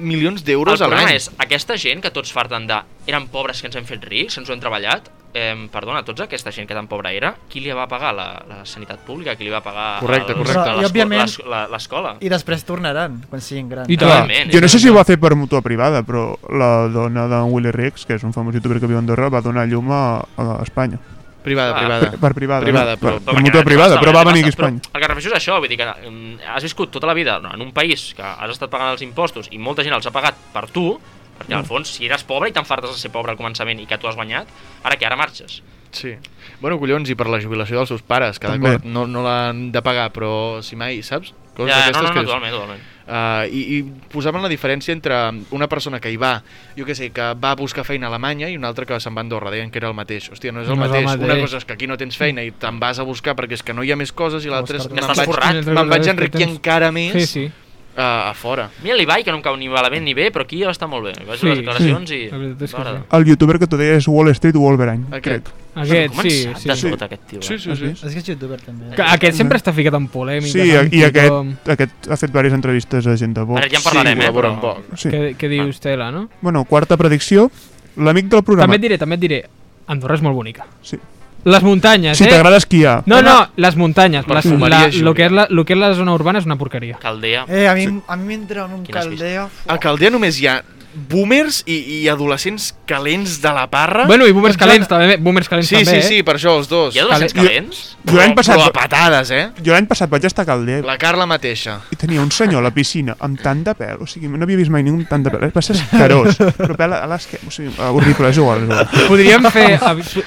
[SPEAKER 5] milions d'euros
[SPEAKER 6] El
[SPEAKER 5] a
[SPEAKER 6] problema
[SPEAKER 5] l'any.
[SPEAKER 6] és, aquesta gent que tots farten de eren pobres que ens hem fet rics, ens ho hem treballat, eh, perdona, tots aquesta gent que tan pobra era, qui li va pagar la, la sanitat pública, qui li va pagar
[SPEAKER 5] Correcte,
[SPEAKER 6] el-
[SPEAKER 5] correcte.
[SPEAKER 6] l'esco-
[SPEAKER 2] I, òbviament-
[SPEAKER 6] l'esco- la- l'escola?
[SPEAKER 2] I després tornaran, quan siguin grans.
[SPEAKER 4] Clar, jo no sé si ho va fer per mutua privada, però la dona d'en Willy Rex, que és un famós youtuber que viu a Andorra, va donar llum a, a Espanya.
[SPEAKER 6] Ah.
[SPEAKER 5] Privada, privada.
[SPEAKER 4] Per, per privada.
[SPEAKER 5] Privada,
[SPEAKER 4] per,
[SPEAKER 5] però-
[SPEAKER 4] per, mutua privada, però va venir aquí a Espanya.
[SPEAKER 6] El que refereixo és això, vull dir que mm, has viscut tota la vida en un país que has estat pagant els impostos i molta gent els ha pagat per tu, perquè
[SPEAKER 5] Mm.
[SPEAKER 6] al fons, si eres pobre i t'enfartes de ser pobre al començament i que tu has guanyat, ara que ara marxes.
[SPEAKER 5] Sí. Bueno, collons, i per la jubilació dels seus pares, que
[SPEAKER 4] També.
[SPEAKER 5] d'acord, no, no l'han de pagar, però si mai, saps?
[SPEAKER 6] Ja, no,
[SPEAKER 5] d'aquestes
[SPEAKER 6] no, no,
[SPEAKER 5] dius.
[SPEAKER 6] totalment, totalment.
[SPEAKER 5] Uh, i, I posaven la diferència entre una persona que hi va, jo què sé, que va a buscar feina a Alemanya i una altra que se'n va a Andorra, deien que era el mateix. Hòstia, no és el,
[SPEAKER 6] No és el
[SPEAKER 5] mateix. Una
[SPEAKER 6] mateix.
[SPEAKER 5] cosa és que aquí no tens feina i te'n vas a buscar perquè és que no hi ha més coses i l'altra és
[SPEAKER 6] Buscar-te.
[SPEAKER 5] me'n
[SPEAKER 6] Estàs forrat.
[SPEAKER 5] vaig, me'n vaig enriquir
[SPEAKER 6] Tens-
[SPEAKER 5] encara més
[SPEAKER 6] Sí, sí.
[SPEAKER 5] Uh, a fora.
[SPEAKER 6] Mira l'Ibai, que no em cau ni malament ni bé, però aquí està molt bé. Vaig
[SPEAKER 5] Sí,
[SPEAKER 6] sí, les declaracions
[SPEAKER 5] sí.
[SPEAKER 6] sí.
[SPEAKER 5] La
[SPEAKER 6] i...
[SPEAKER 5] veritat és que
[SPEAKER 6] m'agrada.
[SPEAKER 4] El youtuber que tu deies Wall Street Wolverine,
[SPEAKER 5] Aquest.
[SPEAKER 4] crec.
[SPEAKER 1] Aquest,
[SPEAKER 6] Com
[SPEAKER 1] sí,
[SPEAKER 6] en sap
[SPEAKER 1] sí.
[SPEAKER 6] de tot, aquest tio, eh?
[SPEAKER 1] Sí, sí, sí.
[SPEAKER 2] És que és youtuber, també.
[SPEAKER 1] Que aquest sempre està ficat en polèmica.
[SPEAKER 4] Sí,
[SPEAKER 1] amb
[SPEAKER 4] i
[SPEAKER 1] tothom.
[SPEAKER 4] aquest, aquest ha fet diverses entrevistes a gent de Vox.
[SPEAKER 6] Ara ja en parlarem, eh,
[SPEAKER 4] col·labora
[SPEAKER 6] però-
[SPEAKER 4] amb Vox. Sí. Ah.
[SPEAKER 1] Què, què dius, Tela, no?
[SPEAKER 4] Bueno, quarta predicció. L'amic del programa...
[SPEAKER 1] També et diré, també et diré, Andorra és molt bonica.
[SPEAKER 4] Sí.
[SPEAKER 1] Les muntanyes,
[SPEAKER 4] Si
[SPEAKER 1] eh?
[SPEAKER 4] t'agrada esquiar.
[SPEAKER 1] No, no, les muntanyes.
[SPEAKER 4] Per
[SPEAKER 1] Les,
[SPEAKER 4] fumaria,
[SPEAKER 1] la,
[SPEAKER 4] Júlia.
[SPEAKER 1] lo, que és la, lo que és la zona urbana és una porqueria.
[SPEAKER 6] Caldea.
[SPEAKER 2] Eh, a mi, a mi m'entra en un caldeo...
[SPEAKER 5] A Caldea només hi ha boomers i, i adolescents calents de la parra.
[SPEAKER 1] Bueno, i boomers calents també, eh? boomers calents
[SPEAKER 5] sí,
[SPEAKER 1] també,
[SPEAKER 5] sí, sí,
[SPEAKER 1] eh?
[SPEAKER 5] per això els dos.
[SPEAKER 1] Hi ha adolescents calents?
[SPEAKER 4] Jo l'any
[SPEAKER 5] Però-
[SPEAKER 4] passat-
[SPEAKER 5] Però a patades, eh?
[SPEAKER 4] Jo l'any passat vaig estar a Caldea
[SPEAKER 5] La Carla mateixa.
[SPEAKER 4] i tenia un senyor a la piscina amb tant de pèl, o sigui, no havia vist mai ningú amb tant de pèl, eh? va ser escarós, però pèl a l'esquena, o sigui, horrible, és igual. és igual.
[SPEAKER 1] Podríem fer-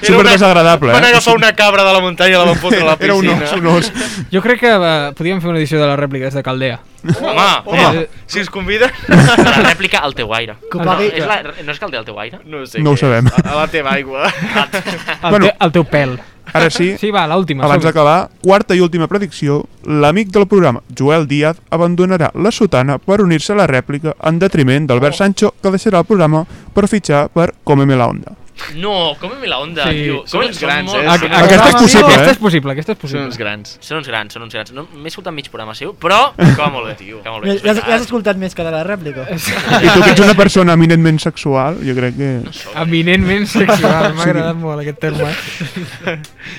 [SPEAKER 4] Super desagradable, eh?
[SPEAKER 5] Van agafar una cabra de la muntanya i la van fotre a la
[SPEAKER 4] *laughs* Era un
[SPEAKER 5] piscina.
[SPEAKER 4] os, un os.
[SPEAKER 1] Jo crec que eh, podríem fer una edició de les rèpliques de Caldea. Eh,
[SPEAKER 6] Home,
[SPEAKER 4] Ah.
[SPEAKER 1] home,
[SPEAKER 5] Eh, si us convida...
[SPEAKER 6] La rèplica al teu aire.
[SPEAKER 1] Que ho
[SPEAKER 6] no,
[SPEAKER 1] pagui-
[SPEAKER 6] és la, no és Caldea al teu aire?
[SPEAKER 5] No
[SPEAKER 4] No ho sabem.
[SPEAKER 5] A, a la teva aigua.
[SPEAKER 1] El,
[SPEAKER 4] Bueno.
[SPEAKER 1] bueno, te, el teu pèl.
[SPEAKER 4] Ara sí,
[SPEAKER 1] Sí, va, l'última.
[SPEAKER 4] abans
[SPEAKER 1] som-hi.
[SPEAKER 4] d'acabar, quarta i última predicció, l'amic del programa, Joel Díaz, abandonarà la sotana per unir-se a la rèplica en detriment d'Albert Sancho, que deixarà el programa per fitxar per Cómeme la Onda.
[SPEAKER 6] No, comem la onda,
[SPEAKER 1] Sí.
[SPEAKER 6] tio.
[SPEAKER 5] Són uns grans, eh?
[SPEAKER 1] A-
[SPEAKER 5] Són
[SPEAKER 1] a- aquesta
[SPEAKER 5] uns
[SPEAKER 1] és
[SPEAKER 5] grans.
[SPEAKER 1] possible, Aquesta eh? és possible, aquesta és possible.
[SPEAKER 5] Són uns grans.
[SPEAKER 6] Són uns grans, són uns grans. No, M'he escoltat mig programa seu, però que molt bé, tio. Que molt bé. Ah,
[SPEAKER 2] Ja, ja, has- ja has escoltat més que de la rèplica.
[SPEAKER 1] Eh,
[SPEAKER 4] I tu que ets una persona eminentment sexual, jo crec que...
[SPEAKER 1] *laughs* Eminentment sexual,
[SPEAKER 2] *laughs*
[SPEAKER 1] m'ha
[SPEAKER 4] Sí.
[SPEAKER 1] agradat molt aquest terme.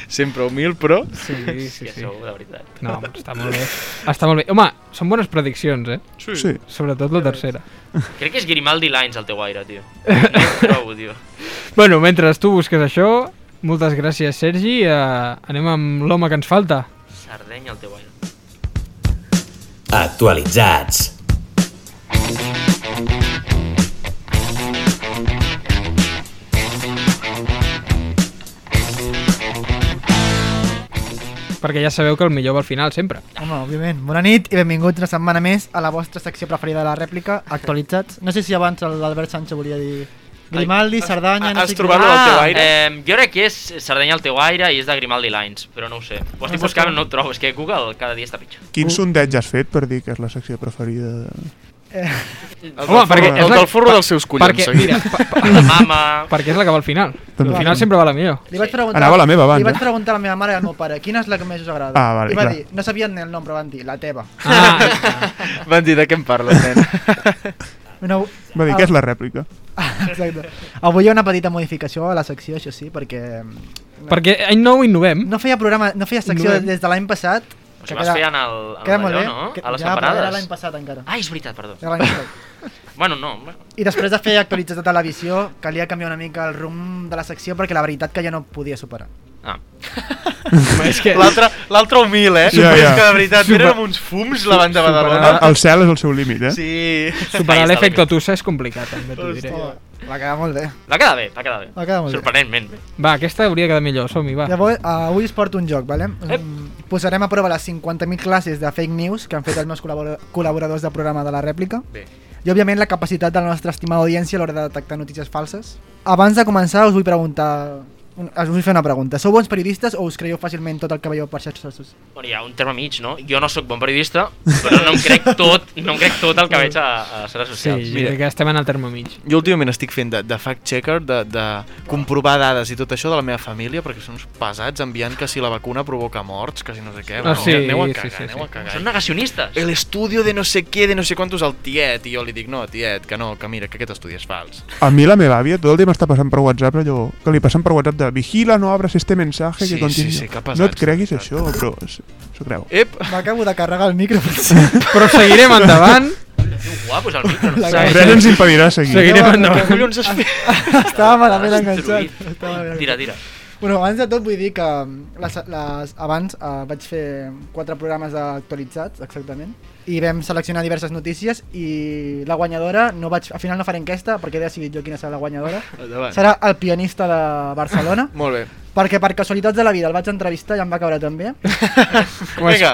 [SPEAKER 5] Sempre humil, però...
[SPEAKER 1] Sí, sí, sí.
[SPEAKER 6] de veritat.
[SPEAKER 1] No, home, està molt bé. Està molt bé. Home, són bones prediccions, eh?
[SPEAKER 5] Sí. Sí.
[SPEAKER 1] Sobretot la tercera.
[SPEAKER 6] Crec que és Grimaldi Lines al teu aire, tio. No ho trobo, tio.
[SPEAKER 1] Bueno, mentre tu busques això, moltes gràcies, Sergi. Uh, anem amb l'home que ens falta.
[SPEAKER 6] Sardenya al teu aire.
[SPEAKER 15] Actualitzats.
[SPEAKER 1] Perquè ja sabeu que el millor va al final, sempre.
[SPEAKER 2] Home, òbviament. Bona nit i benvinguts una setmana més a la vostra secció preferida de la rèplica, actualitzats. No sé si abans l'Albert Sancho volia dir Grimaldi, Cerdanya... no sé qui.
[SPEAKER 6] Eh, jo crec que és Sardenya al teu aire i és de Grimaldi Lines, però no ho sé. Ho estic
[SPEAKER 2] No
[SPEAKER 6] buscant
[SPEAKER 2] saps
[SPEAKER 6] i no ho trobo, és que Google cada dia està
[SPEAKER 2] *laughs*
[SPEAKER 6] pitjor.
[SPEAKER 5] Mm.
[SPEAKER 4] Quin sondeig has fet per dir que és la secció preferida? De...
[SPEAKER 6] Home, perquè és la-
[SPEAKER 1] Perquè, mira, pa, pa, *laughs* perquè és la que va al final.
[SPEAKER 2] Doncs
[SPEAKER 1] Al
[SPEAKER 4] També.
[SPEAKER 1] final sempre va la millor.
[SPEAKER 2] Li vaig preguntar,
[SPEAKER 4] Anava la meva abans,
[SPEAKER 2] Li vaig
[SPEAKER 4] eh?
[SPEAKER 2] preguntar a la meva mare i al meu pare quina és la que més us agrada.
[SPEAKER 5] Ah,
[SPEAKER 2] I
[SPEAKER 5] vale,
[SPEAKER 2] va
[SPEAKER 5] clar.
[SPEAKER 2] dir, no sabien ni el nom, però van dir, la teva.
[SPEAKER 1] Ah,
[SPEAKER 5] Van dir, de què em parles, nen?
[SPEAKER 2] Bueno,
[SPEAKER 4] Va dir,
[SPEAKER 2] ah,
[SPEAKER 4] que és la rèplica.
[SPEAKER 2] *laughs* Exacte. Avui hi ha una petita modificació a la secció, això sí, perquè...
[SPEAKER 1] *laughs*
[SPEAKER 2] mm,
[SPEAKER 1] Perquè any nou innovem.
[SPEAKER 2] No feia programa, no feia secció
[SPEAKER 1] Innovem.
[SPEAKER 2] des de l'any passat.
[SPEAKER 6] Ho vas fer en el- en
[SPEAKER 2] queda
[SPEAKER 6] el
[SPEAKER 2] molt
[SPEAKER 6] d'allò,
[SPEAKER 2] bé,
[SPEAKER 6] no?
[SPEAKER 2] que-
[SPEAKER 6] A les
[SPEAKER 2] ja, però
[SPEAKER 6] temporades.
[SPEAKER 2] Era l'any passat encara.
[SPEAKER 6] Ah, és veritat, perdó.
[SPEAKER 2] Era l'any passat.
[SPEAKER 6] Bueno, no, bueno.
[SPEAKER 2] I després de fer actualitzats de televisió, calia canviar una mica el rumb de la secció perquè la veritat que ja no podia superar.
[SPEAKER 6] Ah.
[SPEAKER 1] és que...
[SPEAKER 5] L'altre l'altre humil, eh?
[SPEAKER 4] Ja, ja.
[SPEAKER 5] Però És que de veritat,
[SPEAKER 1] Super-
[SPEAKER 5] érem uns fums la banda de Badalona.
[SPEAKER 4] El, el cel és el seu límit, eh?
[SPEAKER 5] Ah. Sí.
[SPEAKER 1] Superar l'efecte Tussa és complicat, també t'ho diré.
[SPEAKER 2] Va quedar molt bé.
[SPEAKER 6] Va quedar bé, va quedar bé.
[SPEAKER 2] Va quedar molt bé.
[SPEAKER 6] Sorprenentment bé.
[SPEAKER 1] Va, aquesta hauria quedat millor, som-hi, va.
[SPEAKER 2] Llavors, eh, avui us porto un joc, vale? Mm, Posarem a prova les 50.000 classes de fake news que han fet els meus col·labora- col·laboradors de programa de la rèplica.
[SPEAKER 5] Bé.
[SPEAKER 2] I, òbviament, la capacitat de la nostra estimada audiència a l'hora de detectar notícies falses. Abans de començar, us vull preguntar... un- Us vull fer una pregunta. Sou bons periodistes o us creieu fàcilment tot el que veieu per xarxes socials?
[SPEAKER 6] Bueno, hi ha un terme mig, no? Jo no sóc bon periodista, però no em crec tot, no em crec tot el que veig a, a les xarxes
[SPEAKER 1] Sí,
[SPEAKER 6] socials.
[SPEAKER 1] jo crec que estem en el terme mig.
[SPEAKER 5] Jo últimament estic fent de, de fact-checker, de, de comprovar dades i tot això de la meva família, perquè són uns pesats enviant que si la vacuna provoca morts, que si no sé què.
[SPEAKER 1] Ah,
[SPEAKER 5] bueno,
[SPEAKER 1] sí,
[SPEAKER 5] aneu a
[SPEAKER 1] sí,
[SPEAKER 5] cagar,
[SPEAKER 1] sí,
[SPEAKER 5] aneu a
[SPEAKER 1] sí.
[SPEAKER 5] cagar.
[SPEAKER 6] Són negacionistes.
[SPEAKER 5] El estudio de no sé què, de no sé quantos al tiet, i jo li dic, no, tiet, que no, que mira, que aquest estudi és fals.
[SPEAKER 4] A mi la meva àvia tot el dia m'està passant per WhatsApp allò que li passen per WhatsApp de vigila, no abres este mensaje
[SPEAKER 5] Sí,
[SPEAKER 4] que contiene...
[SPEAKER 5] sí, sí, que Eh, pesats,
[SPEAKER 4] no et creguis
[SPEAKER 5] de
[SPEAKER 4] això, però s- s'ho creu.
[SPEAKER 5] Ep!
[SPEAKER 2] M'acabo de carregar el micro.
[SPEAKER 1] Però seguirem endavant.
[SPEAKER 6] Guapos el micro.
[SPEAKER 4] La
[SPEAKER 5] eh,
[SPEAKER 4] Res ens impedirà seguir.
[SPEAKER 1] *laughs* Seguirem endavant.
[SPEAKER 2] Què collons has fet? *laughs* Estava malament enganxat. Estava malament
[SPEAKER 6] Ah, Tira, tira.
[SPEAKER 2] Bueno, abans de tot vull dir que mm, les, les, abans eh, vaig fer quatre programes actualitzats, exactament, i vam seleccionar diverses notícies i la guanyadora, no vaig, al final no faré enquesta perquè he decidit jo quina serà la guanyadora,
[SPEAKER 5] Endavant.
[SPEAKER 2] serà el pianista de
[SPEAKER 5] *laughs*
[SPEAKER 2] Barcelona,
[SPEAKER 5] Molt bé.
[SPEAKER 2] perquè per casualitats de la vida el vaig entrevistar i em va caure també,
[SPEAKER 5] Vinga.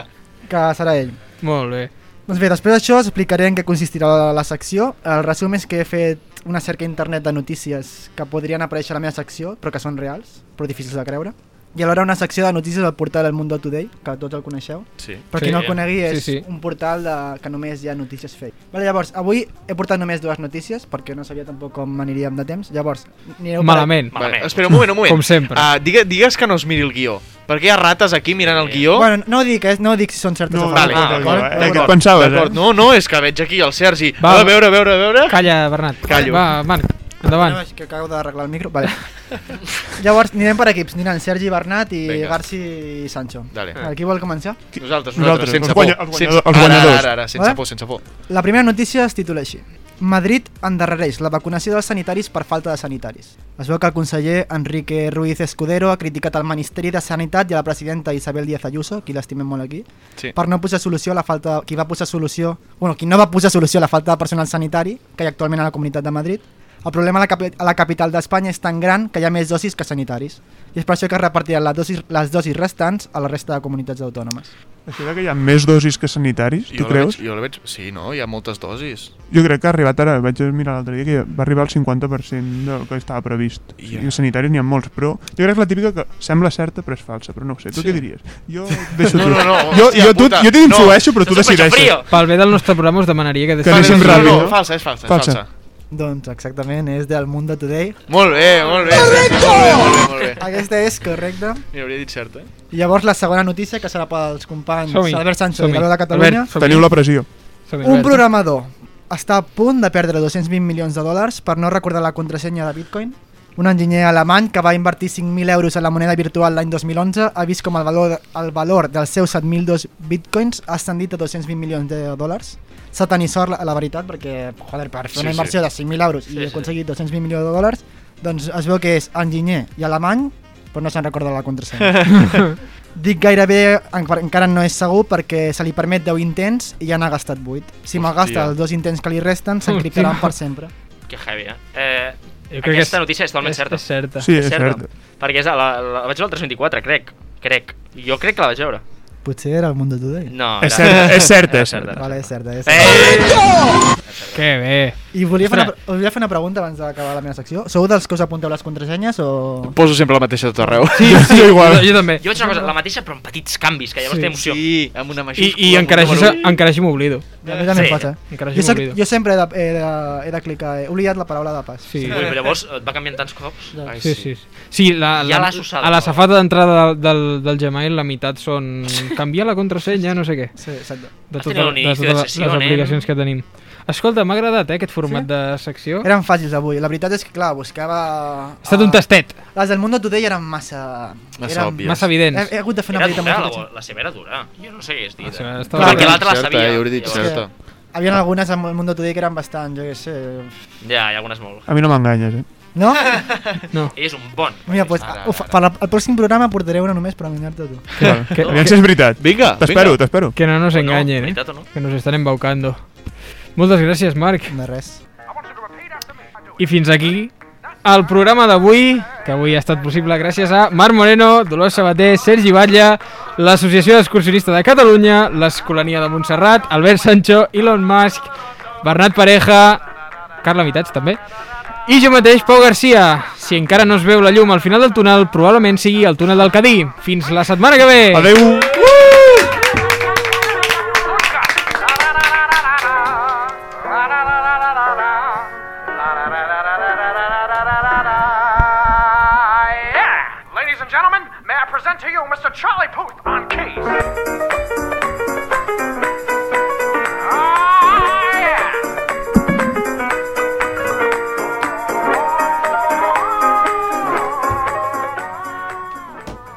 [SPEAKER 2] que serà ell.
[SPEAKER 1] Molt bé.
[SPEAKER 2] Doncs bé, després d'això us explicaré en què consistirà la, la secció. El resum és que he fet una cerca a internet de notícies que podrien aparèixer a la meva secció, però que són reals, però difícils de creure. I alhora una secció de notícies del portal El Mundo Today, que tots el coneixeu.
[SPEAKER 5] Sí.
[SPEAKER 2] Per qui
[SPEAKER 5] Sí.
[SPEAKER 2] no el conegui,
[SPEAKER 5] Sí,
[SPEAKER 2] és
[SPEAKER 5] sí.
[SPEAKER 2] un portal de, que només hi ha notícies fake. Vale, llavors, avui he portat només dues notícies, perquè no sabia tampoc com aniríem de temps. Llavors, anireu... Per...
[SPEAKER 5] Vale, espera, un moment, un moment.
[SPEAKER 1] Com sempre.
[SPEAKER 5] Uh, digue, digues que no es miri el guió. Perquè hi ha rates aquí mirant el guió.
[SPEAKER 2] Bueno, no dic, eh, no dic si són certes
[SPEAKER 5] No,
[SPEAKER 2] o
[SPEAKER 5] vale,
[SPEAKER 2] falses.
[SPEAKER 5] ah,
[SPEAKER 2] d'acord?
[SPEAKER 4] eh?
[SPEAKER 5] d'acord,
[SPEAKER 2] D'acord.
[SPEAKER 5] d'acord, d'acord. No, no, és que veig aquí el Sergi.
[SPEAKER 1] Va.
[SPEAKER 5] a veure, a veure, a veure.
[SPEAKER 1] Calla, Bernat.
[SPEAKER 5] Callo.
[SPEAKER 1] Va, Marc, endavant.
[SPEAKER 2] No, és que acabo d'arreglar el micro. Vale. *laughs* Llavors, anirem per equips. Aniran Sergi, Bernat i
[SPEAKER 5] Vinga.
[SPEAKER 2] Garci i Sancho.
[SPEAKER 5] Dale.
[SPEAKER 2] Vale, qui vol començar?
[SPEAKER 5] Nosaltres, nosaltres,
[SPEAKER 4] Nosaltres,
[SPEAKER 5] sense
[SPEAKER 4] els
[SPEAKER 5] por.
[SPEAKER 4] guanya- els guanyadors-
[SPEAKER 5] sense-
[SPEAKER 4] els
[SPEAKER 5] Ara,
[SPEAKER 4] guanyadors.
[SPEAKER 5] Ara, ara, sense
[SPEAKER 2] Vale?
[SPEAKER 5] por, sense por.
[SPEAKER 2] La primera notícia es titula així. Madrid endarrereix la vacunació dels sanitaris per falta de sanitaris. Es veu que el conseller Enrique Ruiz Escudero ha criticat el Ministeri de Sanitat i a la presidenta Isabel Díaz Ayuso, qui l'estimem molt aquí,
[SPEAKER 5] Sí.
[SPEAKER 2] per no posar solució a la falta... Qui va posar solució... Bueno, qui no va posar solució a la falta de personal sanitari que hi ha actualment a la Comunitat de Madrid. El problema a la, capi- a la capital d'Espanya és tan gran que hi ha més dosis que sanitaris. I és per això que es repartiran les dosis, les dosis restants a la resta de comunitats autònomes.
[SPEAKER 4] Això de que hi ha més dosis que sanitaris, tu
[SPEAKER 5] Jo la
[SPEAKER 4] creus?
[SPEAKER 5] veig, jo la veig... Sí, no? Hi ha moltes dosis.
[SPEAKER 4] Jo crec que ha arribat ara, vaig mirar l'altre dia, que va arribar al 50% del que estava previst.
[SPEAKER 5] Ja.
[SPEAKER 4] I els sanitaris n'hi ha molts, però jo crec que és la típica que sembla certa però és falsa, però no ho sé. Tu
[SPEAKER 5] Sí.
[SPEAKER 4] què diries? Jo et deixo
[SPEAKER 5] No,
[SPEAKER 4] tu.
[SPEAKER 5] no, no,
[SPEAKER 4] jo,
[SPEAKER 5] hòstia
[SPEAKER 4] jo, tu,
[SPEAKER 5] puta,
[SPEAKER 4] jo t'influeixo, però tu
[SPEAKER 5] se sospecha
[SPEAKER 4] decideixes.
[SPEAKER 5] frío.
[SPEAKER 1] Pel bé del nostre programa us demanaria que...
[SPEAKER 4] Que anéssim
[SPEAKER 1] No, no,
[SPEAKER 4] ràpid,
[SPEAKER 1] no,
[SPEAKER 4] no?
[SPEAKER 1] falsa, és falsa, és falsa.
[SPEAKER 2] Doncs exactament, és del Mundo Today.
[SPEAKER 5] Molt bé, molt bé. Correcte! Molt bé, molt bé.
[SPEAKER 2] *laughs* Aquesta és correcta.
[SPEAKER 5] Mira, hauria dit eh? certa.
[SPEAKER 2] I llavors la segona notícia, que serà pels companys
[SPEAKER 4] Som-hi,
[SPEAKER 2] Albert Sancho
[SPEAKER 4] som-hi.
[SPEAKER 2] de Valor de Catalunya.
[SPEAKER 4] Albert, som-hi. Teniu la pressió.
[SPEAKER 1] Som-hi,
[SPEAKER 2] Un
[SPEAKER 1] Albert.
[SPEAKER 2] programador està a punt de perdre 220 milions de dòlars per no recordar la contrasenya de Bitcoin. Un enginyer alemany que va invertir 5.000 euros en la moneda virtual l'any 2011 ha vist com el valor, el valor dels seus 7.002 bitcoins ha ascendit a 220 milions de dòlars. S'ha tenir sort, la, la veritat, perquè joder, per fer
[SPEAKER 10] Sí, sí.
[SPEAKER 2] una inversió de 5.000 euros i aconseguir 220 milions de dòlars, doncs es veu que és enginyer i alemany, però no se'n recorda la contrasenya. *laughs* Dic gairebé, en- per- encara no és segur, perquè se li permet 10 intents i ja n'ha gastat 8. Si malgasta
[SPEAKER 6] Hòstia.
[SPEAKER 2] els dos intents que li resten, s'encriptaran per sempre.
[SPEAKER 6] Que heavy, eh? eh
[SPEAKER 1] Jo crec que
[SPEAKER 6] aquesta
[SPEAKER 1] és-
[SPEAKER 6] notícia és totalment
[SPEAKER 1] és-
[SPEAKER 6] certa.
[SPEAKER 1] és certa.
[SPEAKER 4] Sí, és certa.
[SPEAKER 6] Perquè és la, la, la vaig veure al 324, crec. Crec. Jo crec que la vaig veure.
[SPEAKER 2] Potser era el Mundo Today.
[SPEAKER 6] No,
[SPEAKER 4] És certa, és certa, és certa.
[SPEAKER 2] Vale, és certa. És
[SPEAKER 6] Eh!
[SPEAKER 2] certa.
[SPEAKER 1] Que bé.
[SPEAKER 2] I volia fer, una,
[SPEAKER 1] Ostres.
[SPEAKER 2] us volia fer una pregunta abans d'acabar la meva secció. Sou dels que us apunteu les contrasenyes o...
[SPEAKER 5] Poso sempre la mateixa a tot arreu.
[SPEAKER 1] Sí, sí, Jo igual. jo- jo també.
[SPEAKER 6] Jo vaig fer una cosa, la mateixa però amb petits canvis, que llavors
[SPEAKER 1] Sí.
[SPEAKER 6] té emoció.
[SPEAKER 5] Sí, amb una
[SPEAKER 1] I, i encara així, encara així m'oblido.
[SPEAKER 2] A mi també em passa.
[SPEAKER 1] Encara
[SPEAKER 2] Jo,
[SPEAKER 1] així
[SPEAKER 2] soc,
[SPEAKER 1] m'oblido.
[SPEAKER 2] jo sempre he de, he, de, he de clicar. He oblidat la paraula de pas.
[SPEAKER 1] Sí.
[SPEAKER 6] Ui, però llavors et va canviant tants cops. Ai,
[SPEAKER 1] Sí, sí, sí. Sí, la,
[SPEAKER 6] I ja
[SPEAKER 1] la,
[SPEAKER 6] l'has usat,
[SPEAKER 1] a la
[SPEAKER 6] no?
[SPEAKER 1] safata d'entrada del, del, del Gmail la meitat són canviar la contrasenya, no sé què.
[SPEAKER 2] Sí, exacte.
[SPEAKER 1] De
[SPEAKER 6] Has
[SPEAKER 1] totes
[SPEAKER 6] tenido un
[SPEAKER 1] de,
[SPEAKER 6] inicio de
[SPEAKER 1] totes
[SPEAKER 6] sessió,
[SPEAKER 1] les
[SPEAKER 6] nen.
[SPEAKER 1] aplicacions que tenim. Escolta, m'ha agradat eh, aquest format de secció.
[SPEAKER 2] Eren fàcils avui. La veritat és que, clar, buscava... ah,
[SPEAKER 1] Ha estat un tastet.
[SPEAKER 2] Les del Mundo Today eren massa...
[SPEAKER 1] Massa
[SPEAKER 2] eren...
[SPEAKER 1] òbvies. Massa evidents.
[SPEAKER 2] He, he hagut de fer una
[SPEAKER 6] era
[SPEAKER 2] petita
[SPEAKER 6] dura, la,
[SPEAKER 2] modificació.
[SPEAKER 6] la seva era dura. Jo no sé què és dir.
[SPEAKER 1] seva
[SPEAKER 6] eh?
[SPEAKER 1] Ah, estava
[SPEAKER 6] Perquè
[SPEAKER 1] dura.
[SPEAKER 6] l'altra la
[SPEAKER 1] Certa,
[SPEAKER 6] sabia.
[SPEAKER 1] eh, jo he dit
[SPEAKER 6] llavors.
[SPEAKER 1] certa.
[SPEAKER 2] Hi havia algunes amb el Mundo Today que eren bastant, jo què sé...
[SPEAKER 6] Ja, hi ha algunes molt.
[SPEAKER 4] A mi no m'enganyes, eh?
[SPEAKER 6] *laughs*
[SPEAKER 2] No?
[SPEAKER 1] No.
[SPEAKER 6] Ell és un bon.
[SPEAKER 2] Mira, pues,
[SPEAKER 6] Ara,
[SPEAKER 2] ho fa- per la- el pròxim programa portaré una només per enganyar-te tu.
[SPEAKER 4] Val. Aviam si és veritat.
[SPEAKER 5] Vinga,
[SPEAKER 4] T'espero,
[SPEAKER 1] vinga.
[SPEAKER 4] t'espero.
[SPEAKER 1] Que no nos enganyen, eh?
[SPEAKER 6] veritat o no?
[SPEAKER 1] que nos estan embaucando. Moltes gràcies, Marc.
[SPEAKER 2] De res.
[SPEAKER 1] I fins aquí el programa d'avui, que avui ha estat possible gràcies a Marc Moreno, Dolors Sabater, Sergi Batlle, l'Associació d'Excursionista de Catalunya, l'Escolania de Montserrat, Albert Sancho, Elon Musk, Bernat Pareja, Carla Mitats també, i jo mateix, Pau Garcia. Si
[SPEAKER 4] Eh.
[SPEAKER 1] encara no es veu la llum al final del túnel, probablement sigui el túnel del Cadí. Fins la setmana que ve! Adeu! Uh!
[SPEAKER 11] Ah,